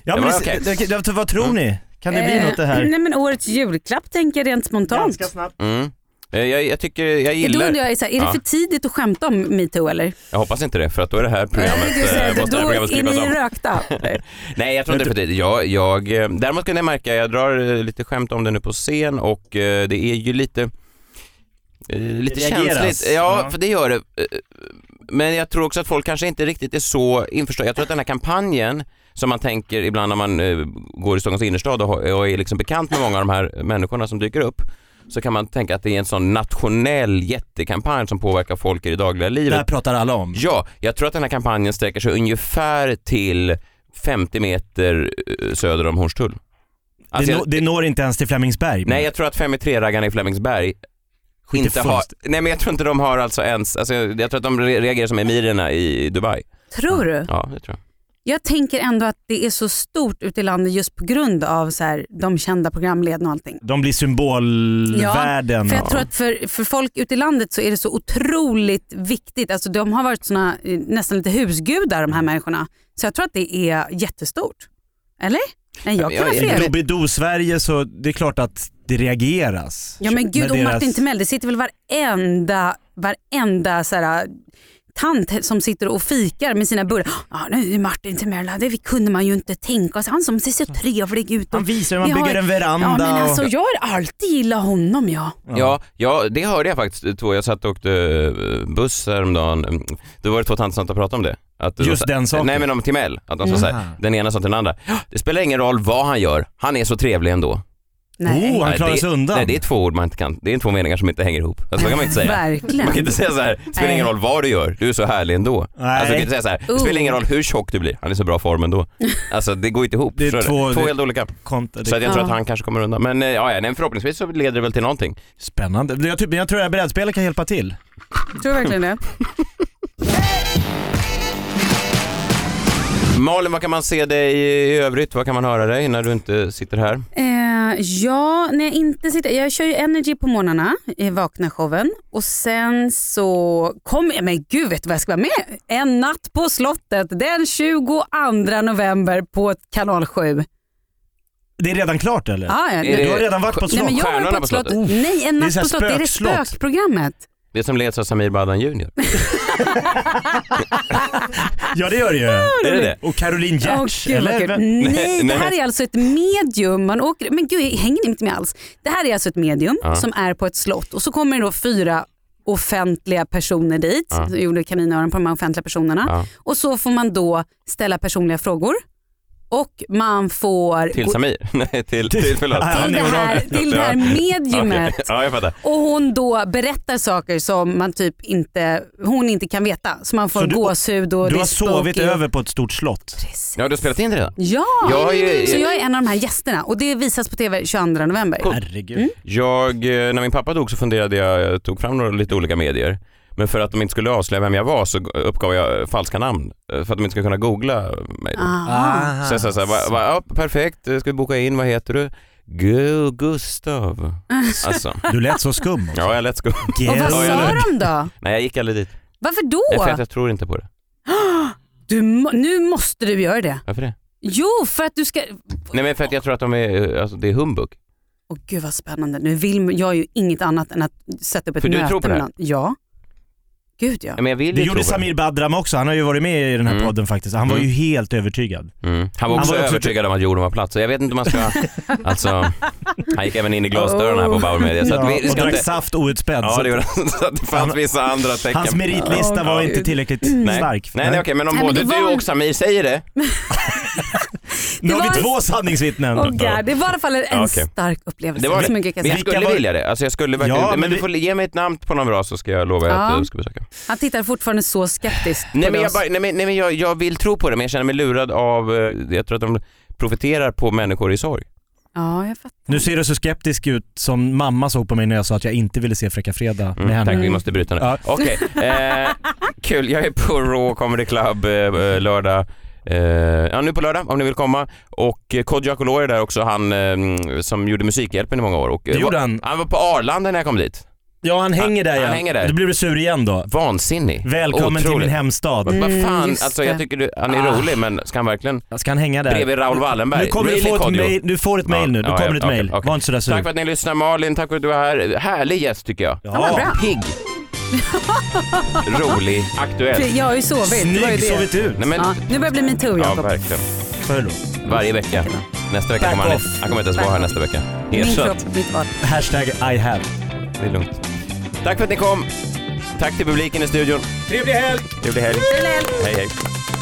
[SPEAKER 4] Ja,
[SPEAKER 5] Det
[SPEAKER 4] men
[SPEAKER 5] var
[SPEAKER 4] det-
[SPEAKER 5] okej. Mm.
[SPEAKER 4] det- det- Vad tror ni? Kan det bli
[SPEAKER 7] Eh,
[SPEAKER 4] något det här?
[SPEAKER 7] Nej men årets julklapp tänker jag rent spontant.
[SPEAKER 5] Mm. Eh, Jag, jag tycker, jag
[SPEAKER 7] Då
[SPEAKER 5] gillar...
[SPEAKER 7] undrar jag, så här, är det
[SPEAKER 5] Ja.
[SPEAKER 7] för tidigt att skämta om metoo eller?
[SPEAKER 5] Jag hoppas inte det för att då är det här programmet, eh, måste det här
[SPEAKER 7] Då
[SPEAKER 5] programmet
[SPEAKER 7] är
[SPEAKER 5] skrivas
[SPEAKER 7] ni
[SPEAKER 5] om.
[SPEAKER 7] rökta.
[SPEAKER 5] Nej jag tror inte det är för tidigt. Jag, jag, eh, däremot kunde jag märka, jag drar eh, lite skämt om det nu på scen och eh, det är ju lite, eh, lite
[SPEAKER 13] Det reageras.
[SPEAKER 5] känsligt. Ja,
[SPEAKER 13] Ja.
[SPEAKER 5] för det gör det. Eh, Men jag tror också att folk kanske inte riktigt är så införstådda. Jag tror att den här kampanjen som man tänker ibland när man eh, går i Stockholms innerstad och, har- och är liksom bekant med många av de här människorna som dyker upp så kan man tänka att det är en sån nationell jättekampanj som påverkar folk i det dagliga livet.
[SPEAKER 4] Det här pratar alla om.
[SPEAKER 5] Ja, jag tror att den här kampanjen sträcker sig ungefär till 50 meter eh, söder om Hornstull. Alltså
[SPEAKER 4] det,
[SPEAKER 5] jag-
[SPEAKER 4] nå- det når inte ens till Flemingsberg.
[SPEAKER 5] Nej, jag tror att 5-3-raggarna i Flemingsberg
[SPEAKER 4] i
[SPEAKER 5] inte har,
[SPEAKER 4] fullst-
[SPEAKER 5] nej men jag tror inte de har alltså ens, alltså jag jag tror att de re- reagerar som emirerna i Dubai.
[SPEAKER 7] Tror du?
[SPEAKER 5] Ja, det tror jag.
[SPEAKER 7] Jag tänker ändå att det är så stort ute i landet just på grund av så här, de kända programledarna och allting.
[SPEAKER 4] De blir symbolvärden.
[SPEAKER 7] för jag tror att för, för folk ute i landet så är det så otroligt viktigt. Alltså de har varit såna, eh, nästan lite husgudar de här människorna. Så jag tror att det är jättestort. Eller? Nej, jag kan ha
[SPEAKER 4] I
[SPEAKER 7] fel.
[SPEAKER 4] Doobidoo-Sverige så det är klart att det reageras.
[SPEAKER 7] Ja men gud
[SPEAKER 4] Med
[SPEAKER 7] och
[SPEAKER 4] deras-
[SPEAKER 7] Martin Timell, det sitter väl varenda, varenda så här, tant som sitter och fikar med sina burrar. Ja nu är Martin Timell, här, det kunde man ju inte tänka sig. Han som ser så trevlig ut. Han
[SPEAKER 4] visar hur man bygger en veranda
[SPEAKER 7] Ja men
[SPEAKER 5] och-
[SPEAKER 7] alltså jag har alltid gillat honom ja.
[SPEAKER 5] Ja. Ja, det hörde jag faktiskt. Två, jag satt och åkte eh, buss häromdagen. Mm, Då var det två tanter som pratade om det. Att
[SPEAKER 4] Just
[SPEAKER 5] de sa-
[SPEAKER 4] den saken.
[SPEAKER 5] Nej men om Timell. Att de sa
[SPEAKER 4] Mm.
[SPEAKER 5] så här, den ena sa till den andra, "Ja, det spelar ingen roll vad han gör, han är så trevlig ändå.
[SPEAKER 4] Oh, han
[SPEAKER 5] Nej,
[SPEAKER 4] klarar
[SPEAKER 5] det-
[SPEAKER 4] sig undan.
[SPEAKER 5] Nej, det är två ord man inte kan, det är två meningar som inte hänger ihop. Alltså, så kan man inte säga.
[SPEAKER 7] Verkligen.
[SPEAKER 5] Man kan inte säga så här, det spelar ingen
[SPEAKER 7] Nej.
[SPEAKER 5] roll vad du gör, du är så härlig ändå.
[SPEAKER 4] Nej.
[SPEAKER 5] Alltså, du kan inte säga så här, det spelar ingen roll hur tjock du blir, han är så bra form
[SPEAKER 7] <laughs>
[SPEAKER 5] ändå. Alltså det går inte ihop.
[SPEAKER 4] Det är
[SPEAKER 5] förstår du?
[SPEAKER 4] två-
[SPEAKER 5] två helt olika.
[SPEAKER 4] Kont-
[SPEAKER 5] Så att jag tror
[SPEAKER 4] Ja.
[SPEAKER 5] att han kanske kommer undan. Men eh, ja, ja, nej, förhoppningsvis så leder det väl till någonting.
[SPEAKER 4] Spännande. Men Jag, typ, men jag tror att brädspelare kan hjälpa till.
[SPEAKER 7] Tror du verkligen det?
[SPEAKER 5] Malin, vad kan man se dig i övrigt? Vad kan man höra dig när du inte sitter här?
[SPEAKER 7] Eh, ja, när jag inte sitter... Jag kör ju Energy på morgnarna, i vakna showen. Och sen så kommer jag... Men gud, vet du vad jag ska vara med En natt på slottet den 22 november på kanal 7.
[SPEAKER 4] Det är redan klart eller?
[SPEAKER 7] Ah, ja.
[SPEAKER 4] Du har redan varit på slott.
[SPEAKER 7] Nej, men jag har varit på slottet. Nej, en natt
[SPEAKER 4] så här
[SPEAKER 7] på slottet. Det är det
[SPEAKER 4] spökslott.
[SPEAKER 7] spökprogrammet.
[SPEAKER 5] Det som leds av Samir Badan Junior.
[SPEAKER 4] Ja det gör det ju.
[SPEAKER 5] Är det det?
[SPEAKER 4] Och Caroline
[SPEAKER 7] Åh,
[SPEAKER 4] Giertz.
[SPEAKER 7] gud, vad
[SPEAKER 4] eller?
[SPEAKER 7] kul. Nej, det här är alltså ett medium. Man åker, men gud, jag hänger inte med alls. Det här är alltså ett medium
[SPEAKER 4] Ja.
[SPEAKER 7] som är på ett slott och så kommer det då fyra offentliga personer dit.
[SPEAKER 11] Ja.
[SPEAKER 7] Så gjorde kaninöron på de här offentliga personerna.
[SPEAKER 11] Ja.
[SPEAKER 7] Och så får man då ställa personliga frågor och man får...
[SPEAKER 5] Till
[SPEAKER 7] gå-
[SPEAKER 5] Samir? <laughs> Nej, till, till förlåt.
[SPEAKER 7] Till det här- till det här mediumet.
[SPEAKER 5] Okej. <laughs> Ja, jag fattar.
[SPEAKER 7] Och hon då berättar saker som man typ inte, hon inte kan veta. Så man får
[SPEAKER 4] Så du-
[SPEAKER 7] gåshud och
[SPEAKER 4] Du
[SPEAKER 7] det
[SPEAKER 4] har
[SPEAKER 7] är
[SPEAKER 4] sovit
[SPEAKER 7] spooky och-
[SPEAKER 4] över på ett stort slott.
[SPEAKER 5] Ja, du har spelat in det redan?
[SPEAKER 7] Ja,
[SPEAKER 5] Jag är ju-
[SPEAKER 7] så jag är en av de här gästerna och det visas på TV 22 november.
[SPEAKER 4] Herregud.
[SPEAKER 7] Mm.
[SPEAKER 5] Jag, eh, när min pappa dog så funderade jag, jag tog fram några lite olika medier. Men för att de inte skulle avslöja vem jag var så uppgav jag eh, falska namn. eh, För att de inte skulle kunna googla mig. då.
[SPEAKER 7] Ah. Aha.
[SPEAKER 5] Så jag sa såhär, va,
[SPEAKER 4] Ah.
[SPEAKER 5] va, ja, perfekt, eh, ska vi boka in, vad heter du? Gu Gustav.
[SPEAKER 7] <laughs>
[SPEAKER 5] Alltså.
[SPEAKER 4] Du lät så skum.
[SPEAKER 5] Ja, jag lät skum.
[SPEAKER 7] Och
[SPEAKER 5] <laughs> Ja,
[SPEAKER 7] vad
[SPEAKER 5] jag
[SPEAKER 7] sa
[SPEAKER 5] lät-
[SPEAKER 7] de då?
[SPEAKER 5] Nej, jag gick aldrig dit.
[SPEAKER 7] Varför
[SPEAKER 5] Nej, för att
[SPEAKER 7] då?
[SPEAKER 5] jag tror inte på det.
[SPEAKER 7] Du, må- nu måste du göra det.
[SPEAKER 5] Varför det?
[SPEAKER 7] Jo, för att du ska...
[SPEAKER 5] Nej, men för att jag tror att de är, eh, alltså, det är humbug.
[SPEAKER 7] Åh gud vad spännande. Nu vill jag ju inget annat än att sätta upp ett
[SPEAKER 4] För du
[SPEAKER 7] möte.
[SPEAKER 4] tror på det
[SPEAKER 7] med
[SPEAKER 4] här?
[SPEAKER 7] någon. Ja. Gud ja.
[SPEAKER 5] Men jag vill
[SPEAKER 4] Det
[SPEAKER 5] ju tro
[SPEAKER 4] gjorde
[SPEAKER 5] på det.
[SPEAKER 4] Samir Badram också, han har ju varit med i den här
[SPEAKER 5] Mm.
[SPEAKER 4] podden faktiskt. Han var
[SPEAKER 5] Mm.
[SPEAKER 4] ju helt övertygad.
[SPEAKER 5] Mm. Han var också övertygad om att jorden var platt, så jag vet inte om man
[SPEAKER 4] <laughs>
[SPEAKER 5] ska... alltså, han gick även in i glasdörren här på Bauer Media. Så att vi, vi
[SPEAKER 4] Oh. Ja, och
[SPEAKER 5] ska
[SPEAKER 4] drack
[SPEAKER 5] inte...
[SPEAKER 4] saft outspädd.
[SPEAKER 5] Ja,
[SPEAKER 4] så-
[SPEAKER 5] det gjorde han. <laughs> Så att det fanns vissa andra tecken.
[SPEAKER 4] Hans meritlista var inte tillräckligt
[SPEAKER 7] Mm.
[SPEAKER 5] Nej.
[SPEAKER 4] stark.
[SPEAKER 5] Nej, nej okej, men om
[SPEAKER 7] Nej, men
[SPEAKER 5] både
[SPEAKER 7] det var
[SPEAKER 5] du
[SPEAKER 7] en-
[SPEAKER 5] och Samir säger det.
[SPEAKER 4] Nu har
[SPEAKER 7] Det var
[SPEAKER 4] vi
[SPEAKER 7] en-
[SPEAKER 4] två sanningsvittnen.
[SPEAKER 7] Åh, gud. Det var i alla fall en
[SPEAKER 5] Ja, okej.
[SPEAKER 7] stark upplevelse.
[SPEAKER 5] Det var
[SPEAKER 7] så mycket kan
[SPEAKER 5] men
[SPEAKER 7] jag
[SPEAKER 5] jag
[SPEAKER 7] säga.
[SPEAKER 5] skulle vilja det. Alltså jag skulle verkligen,
[SPEAKER 4] Ja,
[SPEAKER 5] men,
[SPEAKER 4] men
[SPEAKER 5] du
[SPEAKER 4] vi-
[SPEAKER 5] får ge mig ett namn på någon bra så ska jag lova
[SPEAKER 7] Ja.
[SPEAKER 5] att du ska besöka.
[SPEAKER 7] Han tittar fortfarande så skeptiskt
[SPEAKER 5] Nej
[SPEAKER 7] på
[SPEAKER 5] men, jag,
[SPEAKER 7] oss.
[SPEAKER 5] bara, nej, men, nej, men jag, jag vill tro på det men jag känner mig lurad av, eh, jag tror att de profiterar på människor i sorg.
[SPEAKER 7] Ja, jag fattar.
[SPEAKER 4] Nu ser du så skeptisk ut som mamma såg på mig när jag sa att jag inte ville se Fräcka Fredag med
[SPEAKER 5] Mm,
[SPEAKER 4] henne.
[SPEAKER 5] tack, vi måste bryta nu.
[SPEAKER 4] Ja.
[SPEAKER 5] Okej, eh, kul. Jag är på Raw Comedy Club eh, eh, lördag. Eh, ja, nu på lördag om ni vill komma. Och eh, Kodjo Akolor är där också, han eh, som gjorde Musikhjälpen i många år. Och,
[SPEAKER 4] Det gjorde
[SPEAKER 5] var,
[SPEAKER 4] han.
[SPEAKER 5] Han var på Arlanda när jag kom dit.
[SPEAKER 4] Ja, han hänger där
[SPEAKER 5] Han
[SPEAKER 4] ja.
[SPEAKER 5] hänger där.
[SPEAKER 4] Då blir du sur igen då.
[SPEAKER 5] Vansinnig.
[SPEAKER 4] Välkommen till
[SPEAKER 5] Otroligt.
[SPEAKER 4] min hemstad.
[SPEAKER 5] Vad- Vad fan, alltså jag tycker du, han är
[SPEAKER 4] Ah.
[SPEAKER 5] rolig men ska han verkligen...
[SPEAKER 4] Ska han hänga där?
[SPEAKER 5] Bredvid Raoul Wallenberg.
[SPEAKER 4] Nu kommer du
[SPEAKER 5] Really,
[SPEAKER 4] få ett
[SPEAKER 5] Kodjo?
[SPEAKER 4] mail, du får ett mail nu. Nu
[SPEAKER 5] Ja,
[SPEAKER 4] kommer
[SPEAKER 5] ja,
[SPEAKER 4] ett
[SPEAKER 5] okej,
[SPEAKER 4] mail.
[SPEAKER 5] okej.
[SPEAKER 4] Var inte sådär sur.
[SPEAKER 5] Tack för att ni lyssnar Malin, tack för att du var här. Härlig gäst tycker jag.
[SPEAKER 4] Ja.
[SPEAKER 7] bra. <laughs>
[SPEAKER 5] Pigg, rolig, aktuell.
[SPEAKER 7] Jag har ju sovit. det var ju det.
[SPEAKER 5] Nej, men,
[SPEAKER 7] ja,
[SPEAKER 5] ja.
[SPEAKER 7] nu börjar det bli min tur Jakob.
[SPEAKER 5] verkligen. Varje vecka. Nästa vecka
[SPEAKER 7] Back
[SPEAKER 5] kommer han,
[SPEAKER 7] off.
[SPEAKER 5] han kommer inte ens vara här
[SPEAKER 7] Back
[SPEAKER 5] nästa vecka.
[SPEAKER 7] Min
[SPEAKER 5] Ersatt.
[SPEAKER 7] kropp, mitt val.
[SPEAKER 4] Hashtag I have.
[SPEAKER 5] Det är lugnt. Tack för att ni kom. Tack till publiken i studion.
[SPEAKER 4] Trevlig helg!
[SPEAKER 5] Trevlig helg. Hej hej.